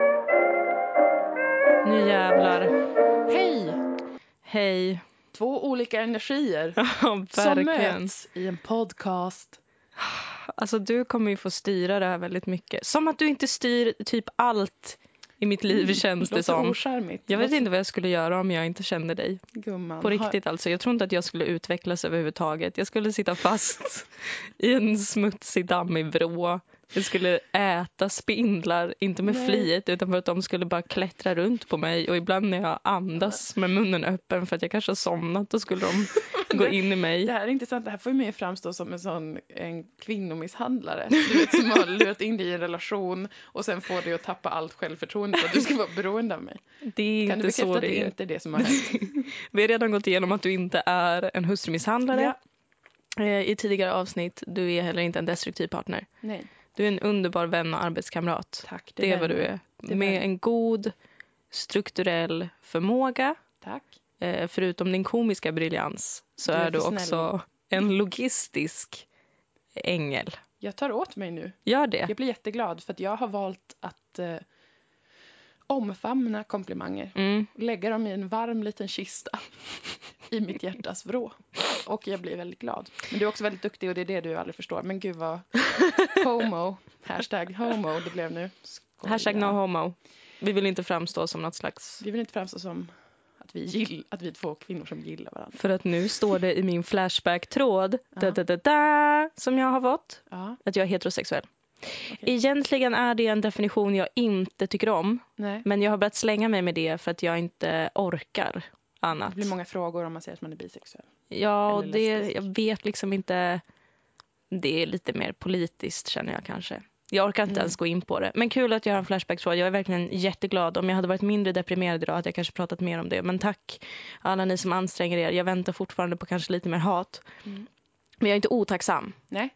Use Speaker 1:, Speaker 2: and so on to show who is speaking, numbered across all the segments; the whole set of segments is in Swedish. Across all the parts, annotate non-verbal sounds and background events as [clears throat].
Speaker 1: [laughs] olika energier
Speaker 2: Ja,
Speaker 1: som
Speaker 2: verkligen.
Speaker 1: möts i en podcast.
Speaker 2: Alltså du kommer ju få styra det här väldigt mycket. Som att du inte styr typ allt i mitt liv känns det
Speaker 1: Mm. Låter
Speaker 2: som.
Speaker 1: ocharmigt.
Speaker 2: Jag vet
Speaker 1: Låter-
Speaker 2: inte vad jag skulle göra om jag inte kände dig.
Speaker 1: Gumman.
Speaker 2: På riktigt alltså. Jag tror inte att jag skulle utvecklas överhuvudtaget. Jag skulle sitta fast i en smutsig dammig vrå. Jag skulle äta spindlar, inte med
Speaker 1: Nej.
Speaker 2: flit utan för att de skulle bara klättra runt på mig. Och ibland när jag andas med munnen öppen för att jag kanske har somnat då skulle de
Speaker 1: [laughs]
Speaker 2: gå in i
Speaker 1: Det
Speaker 2: mig.
Speaker 1: här är intressant. Det här får ju mig framstå som en sån en kvinnomisshandlare. Du vet, som har lurat in dig i en relation och sen får dig att tappa allt självförtroende för att du ska vara beroende av mig.
Speaker 2: Det är
Speaker 1: Kan du
Speaker 2: inte
Speaker 1: bekräfta
Speaker 2: så
Speaker 1: att det
Speaker 2: det är.
Speaker 1: inte är det som har hänt?
Speaker 2: Vi har redan gått igenom att du inte är en hustrumisshandlare eh, i tidigare avsnitt. Du är heller inte en destruktiv partner.
Speaker 1: Nej.
Speaker 2: Du är en underbar vän och arbetskamrat.
Speaker 1: Tack.
Speaker 2: Det är vad du är.
Speaker 1: Det är
Speaker 2: Med
Speaker 1: värme.
Speaker 2: en god strukturell förmåga,
Speaker 1: Tack.
Speaker 2: eh, förutom din komiska briljans, så
Speaker 1: Du är
Speaker 2: är du
Speaker 1: för snäll.
Speaker 2: också en logistisk ängel.
Speaker 1: Jag tar åt mig nu.
Speaker 2: Gör det.
Speaker 1: Jag blir jätteglad för att jag har valt att eh, omfamna komplimanger.
Speaker 2: Mm.
Speaker 1: Lägga dem i en varm liten kista i mitt hjärtas vrå. Och jag blir väldigt glad. Men du är också väldigt duktig och det är det du aldrig förstår. Men gud vad homo, hashtag homo det blev nu. Skoja.
Speaker 2: Hashtag no homo. Vi vill inte framstå som något slags...
Speaker 1: Vi vill inte framstå som att vi, gill, att vi är två kvinnor som gillar varandra.
Speaker 2: För att nu står det i min Flashback-tråd,
Speaker 1: Ja.
Speaker 2: da, da, da, da, som jag har fått,
Speaker 1: Ja,
Speaker 2: att jag är heterosexuell.
Speaker 1: Okej.
Speaker 2: Egentligen är det en definition jag inte tycker om,
Speaker 1: nej.
Speaker 2: men jag har börjat slänga mig med det för att jag inte orkar
Speaker 1: Det
Speaker 2: annat.
Speaker 1: blir många frågor om man säger att man är bisexuell.
Speaker 2: Ja, och
Speaker 1: Eller
Speaker 2: det,
Speaker 1: lesbisk.
Speaker 2: jag vet liksom inte. Det är lite mer politiskt känner jag kanske. Jag orkar inte
Speaker 1: Mm.
Speaker 2: ens gå in på det. Men kul att jag har en flashback-tråd. Jag är verkligen jätteglad. Om jag hade varit mindre deprimerad idag hade jag kanske pratat mer om det. Men tack alla ni som anstränger er. Jag väntar fortfarande på kanske lite mer hat.
Speaker 1: Mm.
Speaker 2: Men jag är inte otacksam.
Speaker 1: Nej,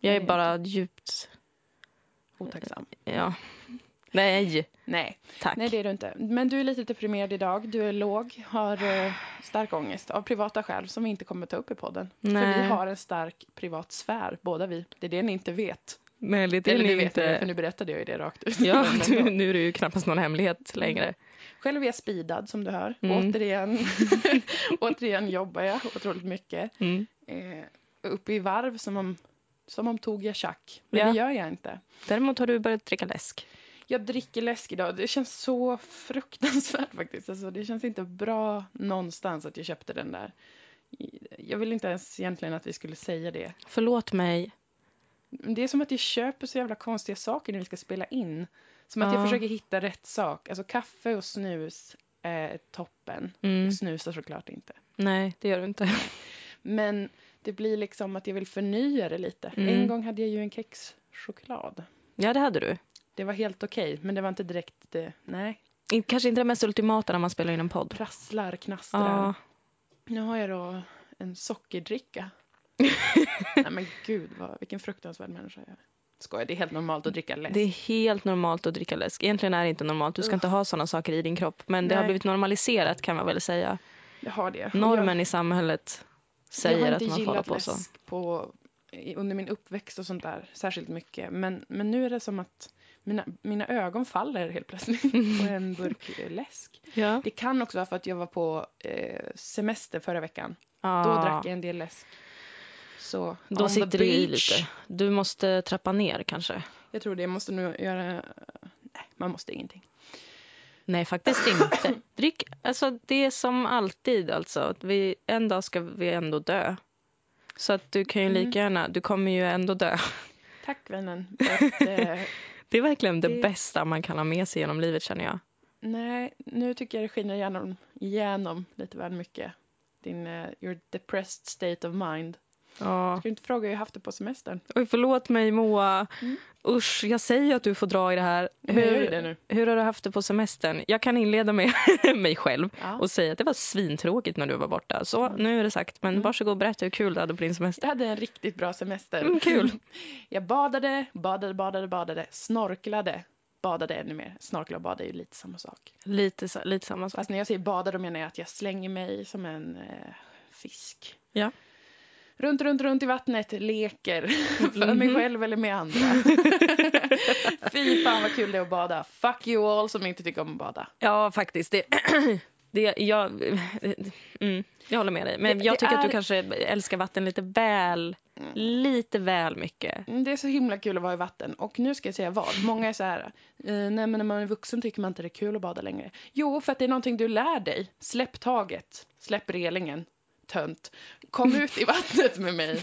Speaker 2: Jag är
Speaker 1: Nej,
Speaker 2: bara djupt...
Speaker 1: otacksam.
Speaker 2: Ja. Nej,
Speaker 1: Nej.
Speaker 2: tack.
Speaker 1: Nej, det är du inte. Men du är lite deprimerad idag. Du är låg, har eh, stark ångest av privata skäl som vi inte kommer ta upp i podden. För
Speaker 2: Nej.
Speaker 1: vi har en stark privat sfär, båda vi. Det är det ni inte vet.
Speaker 2: Nej, det är
Speaker 1: Eller
Speaker 2: ni
Speaker 1: du vet det, för
Speaker 2: inte.
Speaker 1: nu berättade jag ju det rakt
Speaker 2: [laughs]
Speaker 1: ut.
Speaker 2: Ja,
Speaker 1: [laughs] Men
Speaker 2: [laughs] nu,
Speaker 1: ändå.
Speaker 2: nu är det ju knappast någon hemlighet längre.
Speaker 1: Själv är jag speedad som du hör.
Speaker 2: Mm. [laughs]
Speaker 1: Återigen, återigen jobbar jag otroligt mycket.
Speaker 2: Mm.
Speaker 1: Eh, uppe i varv som om, som om tog jag tjack. Men
Speaker 2: Ja.
Speaker 1: det gör jag inte.
Speaker 2: Däremot har du börjat dricka läsk.
Speaker 1: Jag dricker läsk idag. Det känns så fruktansvärt [laughs] faktiskt. Alltså, det känns inte bra någonstans att jag köpte den där. Jag vill inte ens egentligen att vi skulle säga det.
Speaker 2: Förlåt mig.
Speaker 1: Men Det är som att jag köper så jävla konstiga saker när vi ska spela in. Som att
Speaker 2: Ja.
Speaker 1: jag försöker hitta rätt sak. Alltså kaffe och snus är toppen.
Speaker 2: Mm.
Speaker 1: Jag snusar såklart inte.
Speaker 2: Nej, det gör du inte.
Speaker 1: Men det blir liksom att jag vill förnya det lite.
Speaker 2: Mm.
Speaker 1: En gång hade jag ju en kexchoklad.
Speaker 2: [laughs] Ja, det hade du.
Speaker 1: Det var helt okej, men det var inte direkt det. Nej,
Speaker 2: In- Kanske inte det mest ultimata när man spelar in en podd. Ah,
Speaker 1: prasslar, knastrar.
Speaker 2: Ja,
Speaker 1: Nu har jag då
Speaker 2: [laughs]
Speaker 1: en sockerdricka. Nej men gud, vad, vilken fruktansvärd människa jag är. Skojar, det är helt normalt att dricka läsk.
Speaker 2: det är helt normalt att dricka läsk. Egentligen är det inte normalt. Du ska
Speaker 1: Uff.
Speaker 2: inte ha såna saker i din kropp. Men det har
Speaker 1: Nej.
Speaker 2: blivit normaliserat kan man väl säga.
Speaker 1: Jag har det. Och
Speaker 2: Normen i samhället
Speaker 1: jag, jag
Speaker 2: säger
Speaker 1: har
Speaker 2: att
Speaker 1: inte
Speaker 2: man får hålla
Speaker 1: gillat
Speaker 2: på så.
Speaker 1: läsk på, i- under min uppväxt och sånt där särskilt mycket. Men, men nu är det som att mina, mina ögon faller helt plötsligt [laughs] på en burk eh, läsk.
Speaker 2: Ja.
Speaker 1: Det kan också vara för att jag var på eh, semester förra veckan.
Speaker 2: Ja.
Speaker 1: Då drack jag en del läsk. Så,
Speaker 2: Ah. Då
Speaker 1: on the
Speaker 2: sitter det i
Speaker 1: beach.
Speaker 2: lite. Du måste trappa ner kanske.
Speaker 1: Jag tror det, jag måste nog göra... Nej, man måste ingenting.
Speaker 2: Nej,
Speaker 1: [laughs]
Speaker 2: faktiskt inte. Drick, alltså det är som alltid alltså. Att Vi, en dag ska vi ändå dö. Så att du kan ju
Speaker 1: Mm.
Speaker 2: lika gärna, du kommer ju ändå dö. [laughs]
Speaker 1: Tack vännen. Att, eh, [laughs]
Speaker 2: Det är verkligen det
Speaker 1: Det-
Speaker 2: bästa man kan ha med sig genom livet känner jag.
Speaker 1: nej, nu tycker jag det skiner igenom, igenom lite väl mycket. Din eh, your depressed state of mind.
Speaker 2: Ja.
Speaker 1: Ska du inte fråga hur jag haft det på semestern?
Speaker 2: Oj, förlåt mig Moa.
Speaker 1: Mm.
Speaker 2: Usch, jag säger att du får dra i det här.
Speaker 1: Men jag gör ju det
Speaker 2: Hur,
Speaker 1: nu.
Speaker 2: hur har du haft det på semestern? Jag kan inleda med [laughs] mig själv
Speaker 1: Ja.
Speaker 2: och säga att det var svintråkigt när du var borta. Så nu är det sagt, men
Speaker 1: Mm.
Speaker 2: varsågod och berätta hur kul du hade på din semester.
Speaker 1: Jag hade en riktigt bra semester.
Speaker 2: Mm, kul.
Speaker 1: Jag badade, badade, badade, badade, snorklade, badade ännu mer. Snorkla och bada är ju lite samma sak.
Speaker 2: Lite, sa- lite samma sak.
Speaker 1: Fast när jag säger bada då menar jag att jag slänger mig som en eh, fisk.
Speaker 2: Ja.
Speaker 1: Runt, runt, runt i
Speaker 2: [laughs]
Speaker 1: vattnet, leker. För mig
Speaker 2: Mhm.
Speaker 1: själv eller med andra.
Speaker 2: [laughs]
Speaker 1: Fy fan vad kul det är att bada. Fuck you all som inte tycker om att bada.
Speaker 2: Ja, faktiskt. Det, [clears throat] Det, jag, mm, jag håller med dig. Men
Speaker 1: Det-
Speaker 2: jag
Speaker 1: det
Speaker 2: tycker att
Speaker 1: är-
Speaker 2: du kanske älskar vatten lite väl, lite väl mycket.
Speaker 1: Mm, Det är så himla kul att vara i vatten. Och nu ska jag säga vad. Många är så här, eh, nej men när man är vuxen tycker man inte det är kul att bada längre. Jo, för att det är någonting du lär dig. Släpp taget, släpp relingen, tönt.
Speaker 2: Mm.
Speaker 1: Kom ut i vattnet med mig.
Speaker 2: [laughs]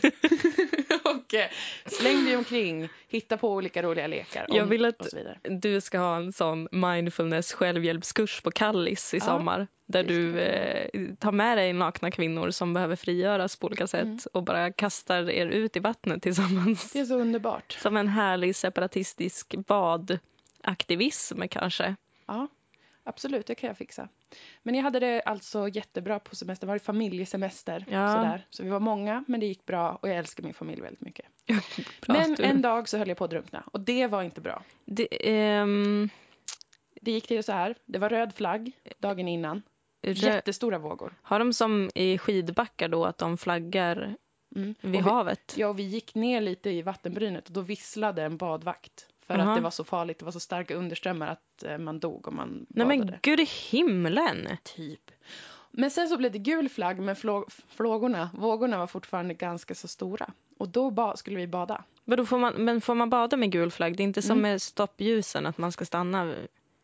Speaker 1: och eh, släng dig omkring, hitta på olika roliga lekar.
Speaker 2: Jag vill att-
Speaker 1: och så vidare.
Speaker 2: Du ska ha en sån mindfulness självhjälpskurs på Kallis i
Speaker 1: Ja,
Speaker 2: sommar där
Speaker 1: det ska
Speaker 2: du eh, tar med dig nakna kvinnor som behöver frigöras på olika sätt
Speaker 1: Mm.
Speaker 2: och bara kastar er ut i vattnet tillsammans.
Speaker 1: Det är så underbart.
Speaker 2: Som en härlig separatistisk badaktivism kanske.
Speaker 1: Ja, absolut, det kan jag fixa. Men jag hade det alltså jättebra på semestern. Det var ju familjesemester.
Speaker 2: Ja.
Speaker 1: Sådär. Så vi var många, men det gick bra och jag älskar min familj väldigt mycket.
Speaker 2: Bra att
Speaker 1: men
Speaker 2: du-
Speaker 1: en dag så höll jag på att drunkna och det var inte bra.
Speaker 2: Det, ehm,
Speaker 1: Det gick till så här, det var röd flagg dagen innan.
Speaker 2: rö-
Speaker 1: Jättestora vågor.
Speaker 2: har de som i skidbackar då att de flaggar
Speaker 1: Mm.
Speaker 2: vid
Speaker 1: och vi,
Speaker 2: havet?
Speaker 1: ja, och vi gick ner lite i vattenbrynet och då visslade en badvakt. För
Speaker 2: Jaha.
Speaker 1: att det var så farligt, det var så starka underströmmar att eh, man dog om man
Speaker 2: Nej
Speaker 1: badade.
Speaker 2: men gud i himlen!
Speaker 1: Typ. Men sen så blev det gul flagg, men flå- flågorna, vågorna var fortfarande ganska så stora. Och då ba- skulle vi bada.
Speaker 2: Vadå, får man, men får man bada med gul flagg? Det är inte som
Speaker 1: Mm.
Speaker 2: med stoppljusen att man ska stanna.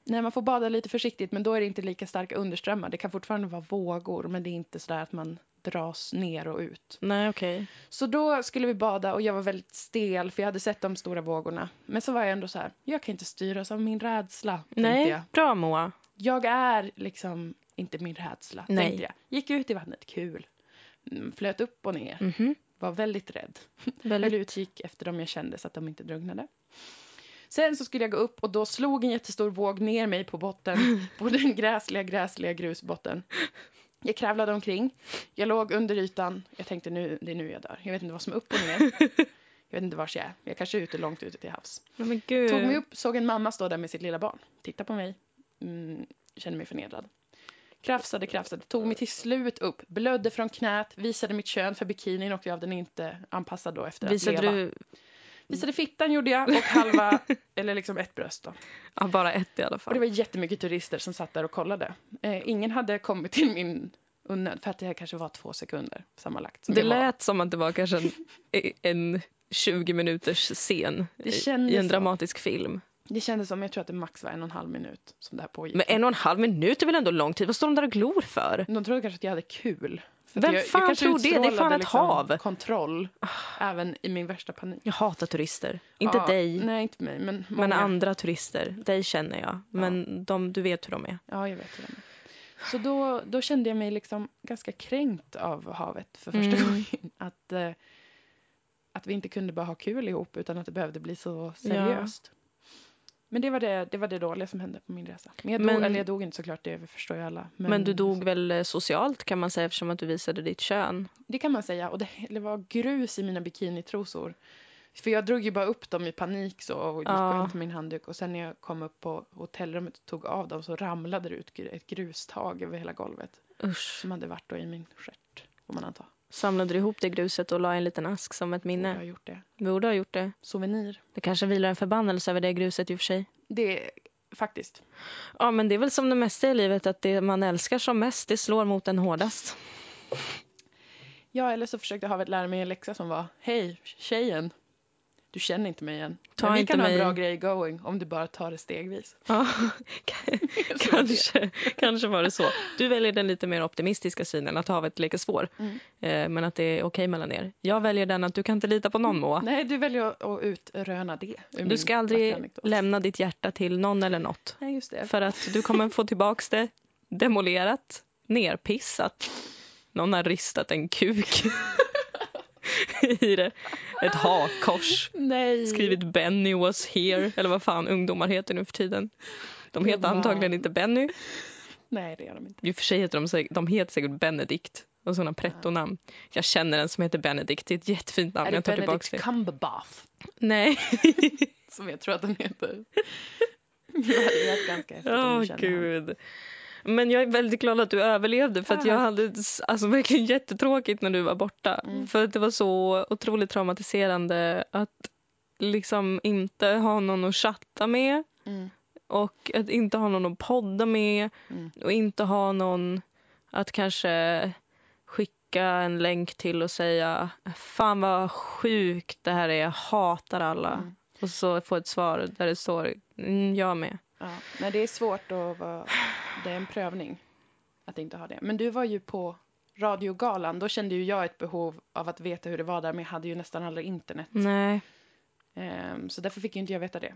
Speaker 1: Nej, man får bada lite försiktigt, men då är det inte lika starka underströmmar. Det kan fortfarande vara vågor, men det är inte sådär att man dras ner och ut.
Speaker 2: Nej okej.
Speaker 1: Så då skulle vi bada och jag var väldigt stel, för jag hade sett de stora vågorna. Men så var jag ändå så här, jag kan inte styras av min rädsla, tänkte
Speaker 2: Nej,
Speaker 1: jag.
Speaker 2: bra Moa.
Speaker 1: Jag är liksom inte min rädsla,
Speaker 2: Nej.
Speaker 1: tänkte jag. Gick ut i vattnet, kul. Mm, Flöt upp och ner,
Speaker 2: Mhm.
Speaker 1: var väldigt rädd.
Speaker 2: Väldigt...
Speaker 1: Eller utkik efter dem jag kände så att de inte drunknade. Sen så skulle jag gå upp och då slog en jättestor våg ner mig på botten, på den gräsliga, gräsliga grusbotten. Jag kravlade omkring, jag låg under ytan, jag tänkte nu, det är nu jag dör. Jag vet inte vad som är upp och ner. Jag vet inte vars jag är, jag kanske är ute långt ute till havs.
Speaker 2: Nej, men gud.
Speaker 1: Tog mig upp, såg en mamma stå där med sitt lilla barn. Titta på mig. Mm, kände mig förnedrad. Krafsade, krafsade, tog mig till slut upp, blödde från knät, visade mitt kön för bikinin åkte jag av, den är inte anpassad då efter
Speaker 2: Visade
Speaker 1: att leva.
Speaker 2: du
Speaker 1: Visade fittan gjorde jag och
Speaker 2: [laughs]
Speaker 1: halva, eller liksom ett bröst då.
Speaker 2: ja, bara ett i alla
Speaker 1: Och det
Speaker 2: fall?
Speaker 1: var jättemycket turister som satt där och kollade. Eh, ingen hade kommit till min unnöd för att det här kanske var två sekunder sammanlagt. som
Speaker 2: Det
Speaker 1: jag var.
Speaker 2: lät som att det var kanske en, en 20 minuters scen
Speaker 1: Det
Speaker 2: i
Speaker 1: kändes
Speaker 2: en
Speaker 1: så.
Speaker 2: dramatisk film.
Speaker 1: det kändes som, jag tror att det max var en och en halv minut som det här pågick.
Speaker 2: Men en och en halv minut är väl ändå lång tid? Vad står de där och glor för?
Speaker 1: De trodde kanske att jag hade kul. För att
Speaker 2: Vem
Speaker 1: jag,
Speaker 2: fan
Speaker 1: jag kanske
Speaker 2: tror det? Det är fan
Speaker 1: utstrålade liksom
Speaker 2: ett hav.
Speaker 1: kontroll, även i min värsta panik.
Speaker 2: Jag hatar turister. Inte
Speaker 1: Ja,
Speaker 2: dig,
Speaker 1: Nej, inte mig, men många.
Speaker 2: men andra turister. Dig känner jag, men de, du vet hur de är.
Speaker 1: Ja, jag vet hur de är. Så då, då kände jag mig liksom ganska kränkt av havet för första
Speaker 2: Mm.
Speaker 1: gången. Att, eh, att vi inte kunde bara ha kul ihop utan att det behövde bli så seriöst. Men det var det, det var det dåliga som hände på min resa. Men jag dog,
Speaker 2: Men-
Speaker 1: eller jag dog inte såklart, det förstår ju alla.
Speaker 2: Men, du dog väl eh, socialt kan man säga eftersom att du visade ditt kön?
Speaker 1: Det kan man säga. Och det, det var grus i mina bikinitrosor. För jag drog ju bara upp dem i panik så och gick
Speaker 2: Ja.
Speaker 1: och hämtade min handduk. Och sen när jag kom upp på hotellrummet och tog av dem så ramlade det ut gr- ett grustag över hela golvet.
Speaker 2: Usch.
Speaker 1: Som hade varit då i min stjärt, får man anta.
Speaker 2: Samlade du ihop det gruset och la i en liten ask som ett
Speaker 1: Jag
Speaker 2: minne?
Speaker 1: har gjort det.
Speaker 2: Borde ha gjort det.
Speaker 1: Souvenir.
Speaker 2: Det kanske vilar en förbannelse över det gruset i och för sig.
Speaker 1: Det är faktiskt.
Speaker 2: Ja, men det är väl som det mesta i livet att det man älskar som mest, det slår mot en hårdast.
Speaker 1: Ja, eller så försökte Havet lära mig en läxa som var Hej, tjejen. Du känner inte mig igen.
Speaker 2: Ta
Speaker 1: Men vi
Speaker 2: inte
Speaker 1: kan
Speaker 2: mig."
Speaker 1: ha en bra grej going om du bara tar det stegvis. [laughs]
Speaker 2: Ja,
Speaker 1: Så var
Speaker 2: [laughs]
Speaker 1: det.
Speaker 2: kanske, kanske var det så. Du väljer den lite mer optimistiska synen, att havet leker svår,
Speaker 1: Mm.
Speaker 2: eh, men att det är okej mellan er. Jag väljer den att du kan inte lita på någon, Moa.
Speaker 1: Nej, du väljer att- att utröna det. ur
Speaker 2: Du
Speaker 1: min
Speaker 2: ska
Speaker 1: vackra
Speaker 2: aldrig
Speaker 1: anekdot.
Speaker 2: lämna ditt hjärta till någon eller något.
Speaker 1: Nej, just det.
Speaker 2: För att du kommer få tillbaka det demolerat, nerpissat. Någon har ristat en kuk [laughs] i det. Ett hakkors.
Speaker 1: Nej.
Speaker 2: Skrivit Benny was here, eller vad fan ungdomar heter nu för tiden. De heter
Speaker 1: Gumman.
Speaker 2: antagligen inte Benny.
Speaker 1: Nej, det gör de inte.
Speaker 2: I och för sig heter de, säk- de heter säkert Benedikt och sådana pretto-namn. Jag känner en som heter Benedikt, det är ett jättefint namn.
Speaker 1: är
Speaker 2: Jag
Speaker 1: det
Speaker 2: tar tillbaka
Speaker 1: Benedict
Speaker 2: det.
Speaker 1: Cumberbatch? [laughs]
Speaker 2: Nej.
Speaker 1: Som jag tror att den
Speaker 2: [laughs]
Speaker 1: heter. Det hade varit ganska häftigt
Speaker 2: Åh,
Speaker 1: om du kände honom.
Speaker 2: gud. Men jag är väldigt glad att du överlevde för att jag
Speaker 1: Tack.
Speaker 2: hade s- alltså, verkligen jättetråkigt när du var borta.
Speaker 1: Mm.
Speaker 2: För att det var så otroligt traumatiserande att liksom inte ha någon att chatta med.
Speaker 1: Mm.
Speaker 2: Och att inte ha någon att podda med
Speaker 1: Mm.
Speaker 2: och inte ha någon att kanske skicka en länk till och säga Fan vad sjukt det här är, jag hatar alla.
Speaker 1: Mm.
Speaker 2: Och så få ett svar där det står mm, jag med.
Speaker 1: Ja. Nej, det är svårt att vara... Det är en prövning att inte ha det. Men du var ju på radiogalan. Då kände ju jag ett behov av att veta hur det var där, men jag hade ju nästan aldrig internet.
Speaker 2: Nej,
Speaker 1: Ehm, så därför fick ju inte jag veta det.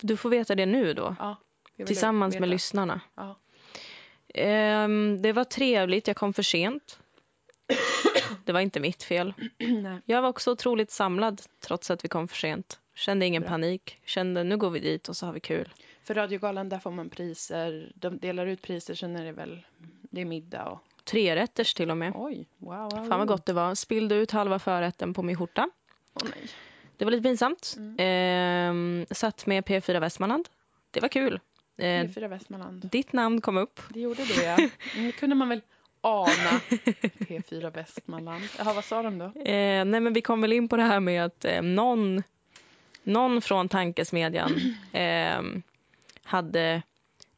Speaker 2: du får veta det nu då.
Speaker 1: Ja, jag ville
Speaker 2: Tillsammans
Speaker 1: veta.
Speaker 2: med lyssnarna.
Speaker 1: Ja.
Speaker 2: Ehm, det var trevligt, jag kom för sent. Det var inte mitt fel.
Speaker 1: [clears throat] Nej.
Speaker 2: Jag var också otroligt samlad trots att vi kom för sent. Kände ingen
Speaker 1: Bra.
Speaker 2: panik. Kände nu går vi dit och så har vi kul.
Speaker 1: För radiogalan, där får man priser. De delar ut priser, sen är det väl... Det är middag och...
Speaker 2: Trerätters till och med.
Speaker 1: Oj, wow. wow.
Speaker 2: Fan vad gott det var. Spillde ut halva förrätten på min skjorta.
Speaker 1: Åh, nej.
Speaker 2: Det var lite pinsamt.
Speaker 1: Mm.
Speaker 2: Ehm, satt med P4 Västmanland. Det var kul. Ehm,
Speaker 1: P4 Västmanland.
Speaker 2: ditt namn kom upp.
Speaker 1: Det gjorde det, ja.
Speaker 2: [laughs]
Speaker 1: Mm, Det kunde man väl ana. P4 Västmanland. Jaha, vad sa de då?
Speaker 2: Eh, nej, men vi kom väl in på det här med att eh, någon, någon från
Speaker 1: [clears throat]
Speaker 2: tankesmedjan ehm, hade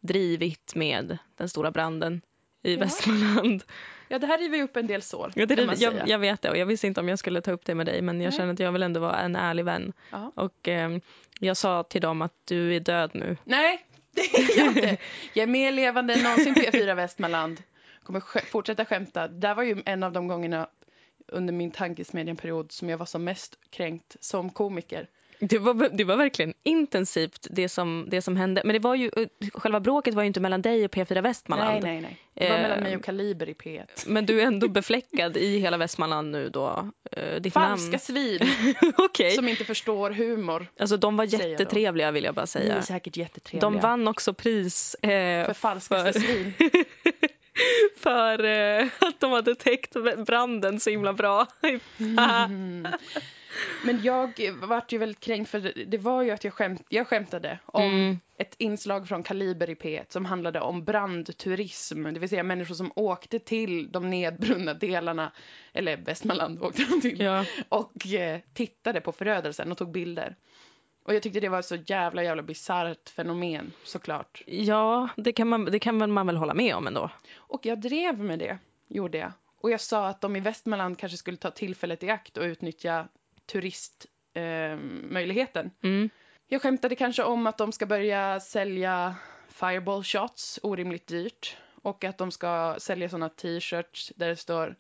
Speaker 2: drivit med den stora branden i
Speaker 1: Ja.
Speaker 2: Västmanland.
Speaker 1: Ja, det här river ju upp en del sår,
Speaker 2: Jag,
Speaker 1: kan man
Speaker 2: driv,
Speaker 1: säga.
Speaker 2: jag, jag vet det och jag visste inte om jag skulle ta upp det med dig men jag
Speaker 1: Nej.
Speaker 2: känner att jag vill ändå vara en ärlig vän.
Speaker 1: Ja.
Speaker 2: Och ehm, jag sa till dem att du är död nu.
Speaker 1: Nej, [laughs] det är jag inte. Jag är mer levande än någonsin P4 Västmanland. Kommer sk- fortsätta skämta. Det var ju en av de gångerna under min tankesmedjan-period som jag var som mest kränkt som komiker.
Speaker 2: Det var, det var verkligen intensivt det som, det som hände. Men det var ju, eh, själva bråket var ju inte mellan dig och P4 Västmanland.
Speaker 1: Nej, nej, nej. Det var
Speaker 2: Eh,
Speaker 1: mellan mig och Kaliber i P1.
Speaker 2: Men du är ändå befläckad i hela Västmanland nu då. Eh, ditt
Speaker 1: Falska
Speaker 2: [laughs] namn.
Speaker 1: svin
Speaker 2: Okej.
Speaker 1: som inte förstår humor.
Speaker 2: Alltså de var
Speaker 1: säger jag då.
Speaker 2: jättetrevliga vill jag bara
Speaker 1: Ni är
Speaker 2: säga.
Speaker 1: säkert jättetrevliga.
Speaker 2: De vann också pris eh,
Speaker 1: för falskaste
Speaker 2: för-
Speaker 1: svin.
Speaker 2: för eh, [laughs] att de hade täckt branden så himla bra.
Speaker 1: Mm. Men jag eh, vart ju väldigt kränkt för det- det var ju att jag, skämt, jag skämtade om
Speaker 2: Mm.
Speaker 1: ett inslag från Kaliber i P1 som handlade om brandturism, det vill säga människor som åkte till de nedbrunna delarna, eller Västmanland åkte de till,
Speaker 2: Ja.
Speaker 1: och eh, tittade på förödelsen och tog bilder. Och jag tyckte det var ett så jävla jävla bisarrt fenomen såklart.
Speaker 2: Ja, det kan, man, det kan väl man väl hålla med om ändå.
Speaker 1: Och jag drev med det, gjorde jag. Och jag sa att de i Västmanland kanske skulle ta tillfället i akt och utnyttja turistmöjligheten. Eh, möjligheten.
Speaker 2: Mm.
Speaker 1: Jag skämtade kanske om att de ska börja sälja fireball shots orimligt dyrt och att de ska sälja såna t-shirts där det står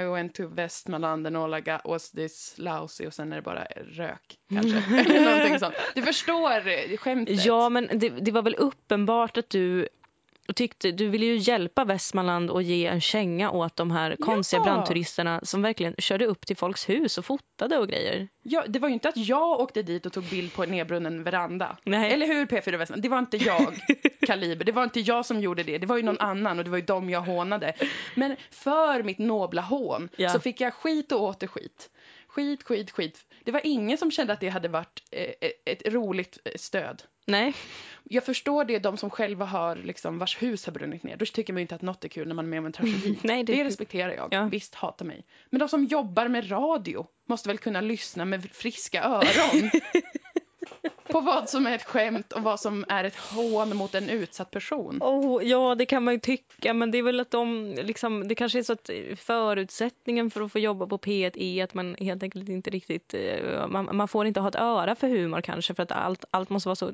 Speaker 1: I went to Västmanland and all I got was this lousy och sen är det bara rök kanske. [laughs] Eller någonting sånt. Du förstår eh, skämtet.
Speaker 2: Ja, men det, det var väl uppenbart att du tyckte, du ville ju hjälpa Västmanland och ge en känga åt de här konstiga
Speaker 1: Ja.
Speaker 2: brandturisterna som verkligen körde upp till folks hus och fotade och grejer.
Speaker 1: Ja, det var ju inte att jag åkte dit och tog bild på en nedbrunnen veranda.
Speaker 2: Nej.
Speaker 1: Eller hur P4 Västman? Det var inte jag, Kaliber. Det var inte jag som gjorde det. Det var ju någon annan och det var ju dem jag hånade. Men för mitt nobla hån
Speaker 2: Ja.
Speaker 1: så fick jag skit och åter skit. Skit, skit, skit. Det var ingen som kände att det hade varit eh, ett roligt eh, stöd.
Speaker 2: Nej.
Speaker 1: Jag förstår det, de som själva har, liksom, vars hus har brunnit ner. Då tycker man ju inte att något är kul när man är med om en tragedi.
Speaker 2: Nej, det-
Speaker 1: det... respekterar jag.
Speaker 2: Ja.
Speaker 1: Visst, hata mig. Men de som jobbar med radio måste väl kunna lyssna med
Speaker 2: [laughs]
Speaker 1: friska öron på vad som är ett skämt och vad som är ett hån mot en utsatt person.
Speaker 2: Oh, ja, det kan man ju tycka, men det är väl att de liksom, det kanske är så att förutsättningen för att få jobba på P1 är att man helt enkelt inte riktigt, eh, man, man får inte ha ett öra för humor kanske för att allt, allt måste vara så.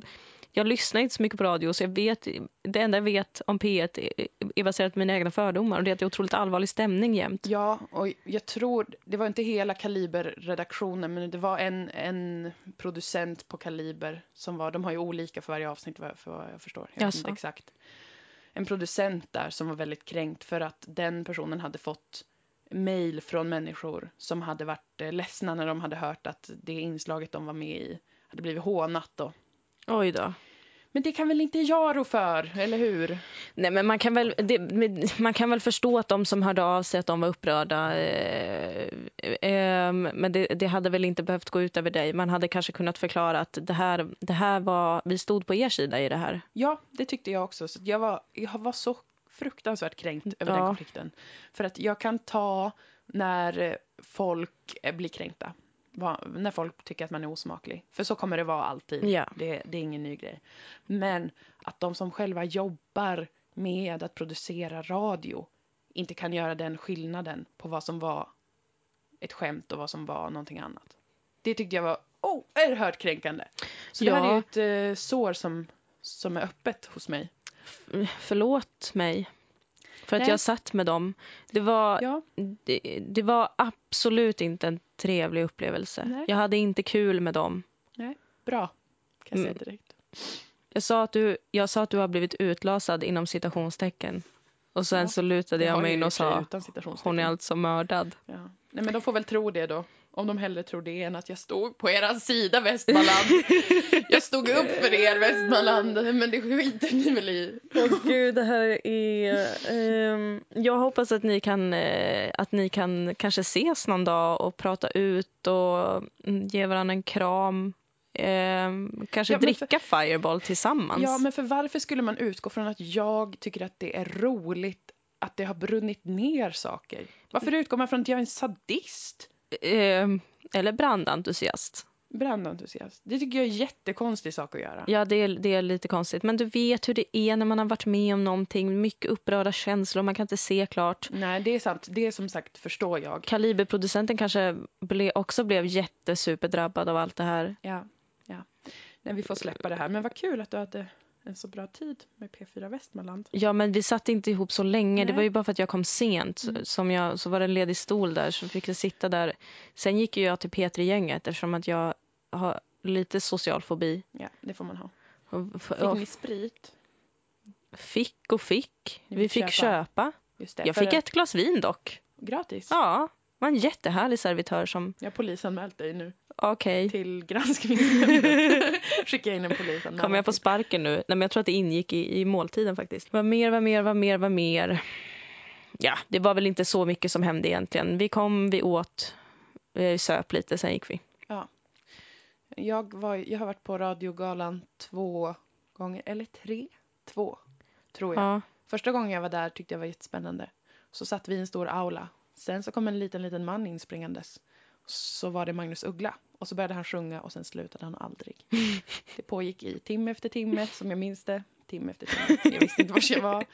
Speaker 2: Jag lyssnar inte så mycket på radio så jag vet, det enda jag vet om P1 är, är baserat på mina egna fördomar och det är att det är otroligt allvarlig stämning jämt.
Speaker 1: Ja, och jag tror, det var inte hela Kaliber-redaktionen, men det var en, en producent på Kaliber som var, de har ju olika för varje avsnitt vad- för vad jag förstår. Jag vet
Speaker 2: Jaså.
Speaker 1: inte exakt. En producent där som var väldigt kränkt för att den personen hade fått mejl från människor som hade varit eh, ledsna när de hade hört att det inslaget de var med i hade blivit hånat då.
Speaker 2: Oj då.
Speaker 1: Men det kan väl inte jag rå för, eller hur?
Speaker 2: Nej, men man kan, väl, det, men man kan väl förstå att de som hörde av sig att de var upprörda. Eh, eh, men det, det hade väl inte behövt gå ut över dig. Man hade kanske kunnat förklara att det här, det här var, vi stod på er sida i det här.
Speaker 1: Ja, det tyckte jag också. Så jag, var, jag var så fruktansvärt kränkt över
Speaker 2: Ja.
Speaker 1: den konflikten. För att jag kan ta när eh, folk eh, blir kränkta. va- när folk tycker att man är osmaklig. För så kommer det vara alltid.
Speaker 2: Ja.
Speaker 1: Det, det är ingen ny grej. Men att de som själva jobbar med att producera radio inte kan göra den skillnaden på vad som var ett skämt och vad som var någonting annat. Det tyckte jag var oerhört kränkande. Så det
Speaker 2: Ja.
Speaker 1: här är ju ett eh, sår som, som är öppet hos mig.
Speaker 2: Förlåt mig för att
Speaker 1: Nej.
Speaker 2: jag satt med dem. Det var,
Speaker 1: Ja.
Speaker 2: det, det var absolut inte en trevlig upplevelse.
Speaker 1: Nej.
Speaker 2: Jag hade inte kul med dem.
Speaker 1: Bra, kan jag
Speaker 2: Mm.
Speaker 1: säga direkt.
Speaker 2: Jag sa att du, jag sa att du har blivit utlasad inom citationstecken. Och sen
Speaker 1: Ja,
Speaker 2: så lutade
Speaker 1: Det har
Speaker 2: jag mig
Speaker 1: ni
Speaker 2: in
Speaker 1: ju i
Speaker 2: och
Speaker 1: och för sig
Speaker 2: sa
Speaker 1: utan citationstecken.
Speaker 2: hon är alltså mördad.
Speaker 1: ja. Nej, men de får väl tro det då. Om de hellre tror det än att jag stod på eran sida, Västmanland. jag stod upp för er, Västmanland, men det skiter ni väl i.
Speaker 2: Åh gud, det här är... ehm, jag hoppas att ni, kan, eh, att ni kan kanske ses någon dag och prata ut och mm, ge varandra en kram. Ehm, kanske
Speaker 1: Ja, men för-
Speaker 2: dricka Fireball tillsammans.
Speaker 1: Ja, men för varför skulle man utgå från att jag tycker att det är roligt att det har brunnit ner saker? Varför utgår man från att jag är en sadist?
Speaker 2: Ehm, eller brandentusiast.
Speaker 1: Brandentusiast. Det tycker jag är en jättekonstig sak att göra.
Speaker 2: Ja, det är, det är lite konstigt. Men du vet hur det är när man har varit med om någonting. Mycket upprörda känslor, man kan inte se klart.
Speaker 1: Nej, det är sant. Det är som sagt förstår jag.
Speaker 2: Kaliberproducenten kanske ble, också blev jättesuperdrabbad av allt det här.
Speaker 1: Ja, ja. Nej, vi får släppa det här. Men vad kul att du hade en så bra tid med P4 Västmanland.
Speaker 2: Ja, men vi satt inte ihop så länge. Det
Speaker 1: Nej. Mm.
Speaker 2: var ju bara för att jag kom sent. Som jag, så var det en ledig stol där, så fick jag sitta där. Sen gick ju jag till P3-gänget eftersom att jag har lite social fobi.
Speaker 1: Ja, det får man ha.
Speaker 2: Och, f-
Speaker 1: Fick
Speaker 2: och
Speaker 1: ni sprit?
Speaker 2: fick och fick.
Speaker 1: Ni
Speaker 2: Vi
Speaker 1: fick
Speaker 2: fick
Speaker 1: köpa.
Speaker 2: köpa.
Speaker 1: Just det.
Speaker 2: Jag
Speaker 1: för
Speaker 2: fick
Speaker 1: det-
Speaker 2: ett glas vin dock.
Speaker 1: Gratis?
Speaker 2: Ja, var en jättehärlig servitör som,
Speaker 1: Jag har polisanmält dig nu
Speaker 2: okej,
Speaker 1: till
Speaker 2: [laughs]
Speaker 1: granskningsnämnden. Skickar in en polisanmälan.
Speaker 2: kommer jag på sparken nu? Nej, men jag tror att det ingick i, i måltiden faktiskt. Vad mer, vad mer, vad mer, vad mer? Ja, det var väl inte så mycket som hände egentligen. Vi kom, vi åt, vi söp lite, sen gick vi.
Speaker 1: jag, var, jag har varit på radiogalan två gånger, eller tre? Två, tror jag.
Speaker 2: Oh Ja.
Speaker 1: Första gången jag var där tyckte jag var jättespännande. Så satt vi i en stor aula. Sen så kom en liten, liten man inspringandes. Så var det Magnus Uggla. Och så började han sjunga och sen slutade han aldrig. Det pågick i timme efter timme, som jag minns det. Timme efter timme. Jag visste inte var jag var.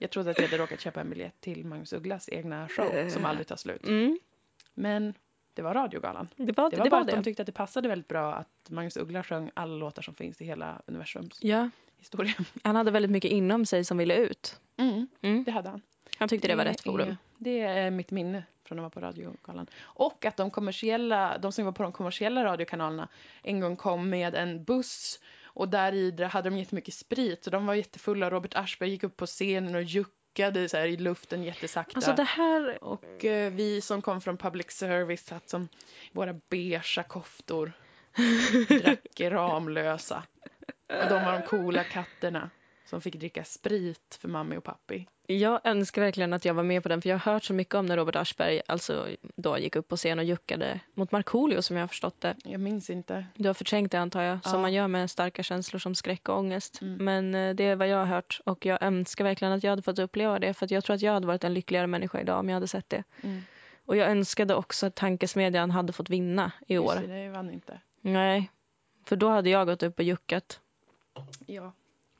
Speaker 1: Jag trodde att jag hade råkat köpa en biljett till Magnus Ugglas egna show som aldrig tar slut.
Speaker 2: Mm,
Speaker 1: Men det var radiogalan.
Speaker 2: det var
Speaker 1: Det
Speaker 2: det.
Speaker 1: var
Speaker 2: det,
Speaker 1: bara
Speaker 2: var
Speaker 1: att de
Speaker 2: det.
Speaker 1: tyckte att det passade väldigt bra att Magnus Uggla sjöng alla låtar som finns i hela universums
Speaker 2: Ja,
Speaker 1: historia.
Speaker 2: han hade väldigt mycket inom sig som ville ut.
Speaker 1: Mm,
Speaker 2: Mm.
Speaker 1: det hade han.
Speaker 2: Han tyckte det var
Speaker 1: är-
Speaker 2: rätt forum.
Speaker 1: Det är mitt minne från när jag var på radiogalan. Och att de kommersiella, de som var på de kommersiella radiokanalerna en gång kom med en buss och där i dra- hade de jättemycket sprit så de var jättefulla. Robert Aschberg gick upp på scenen och juckade så här i luften jättesakta.
Speaker 2: Alltså det här,
Speaker 1: Och eh, vi som kom från public service satt som våra beiga
Speaker 2: [laughs]
Speaker 1: koftor. Drack Ramlösa. Och de var de coola katterna som fick dricka sprit för mamma och pappi.
Speaker 2: jag önskar verkligen att jag var med på den för jag har hört så mycket om när Robert Aschberg alltså, då gick upp på scen och juckade mot Markoolio som jag har förstått det.
Speaker 1: Jag minns inte.
Speaker 2: Du har förträngt det antar jag,
Speaker 1: Ja.
Speaker 2: som man gör med starka känslor som skräck och ångest.
Speaker 1: Mm.
Speaker 2: Men eh, det är vad jag har hört och jag önskar verkligen att jag hade fått uppleva det för att jag tror att jag hade varit en lyckligare människa idag om jag hade sett det.
Speaker 1: Mm.
Speaker 2: Och jag önskade också att tankesmedjan hade fått vinna i år.
Speaker 1: Just det, det vann inte.
Speaker 2: Nej, för då hade jag gått upp och juckat.
Speaker 1: Ja.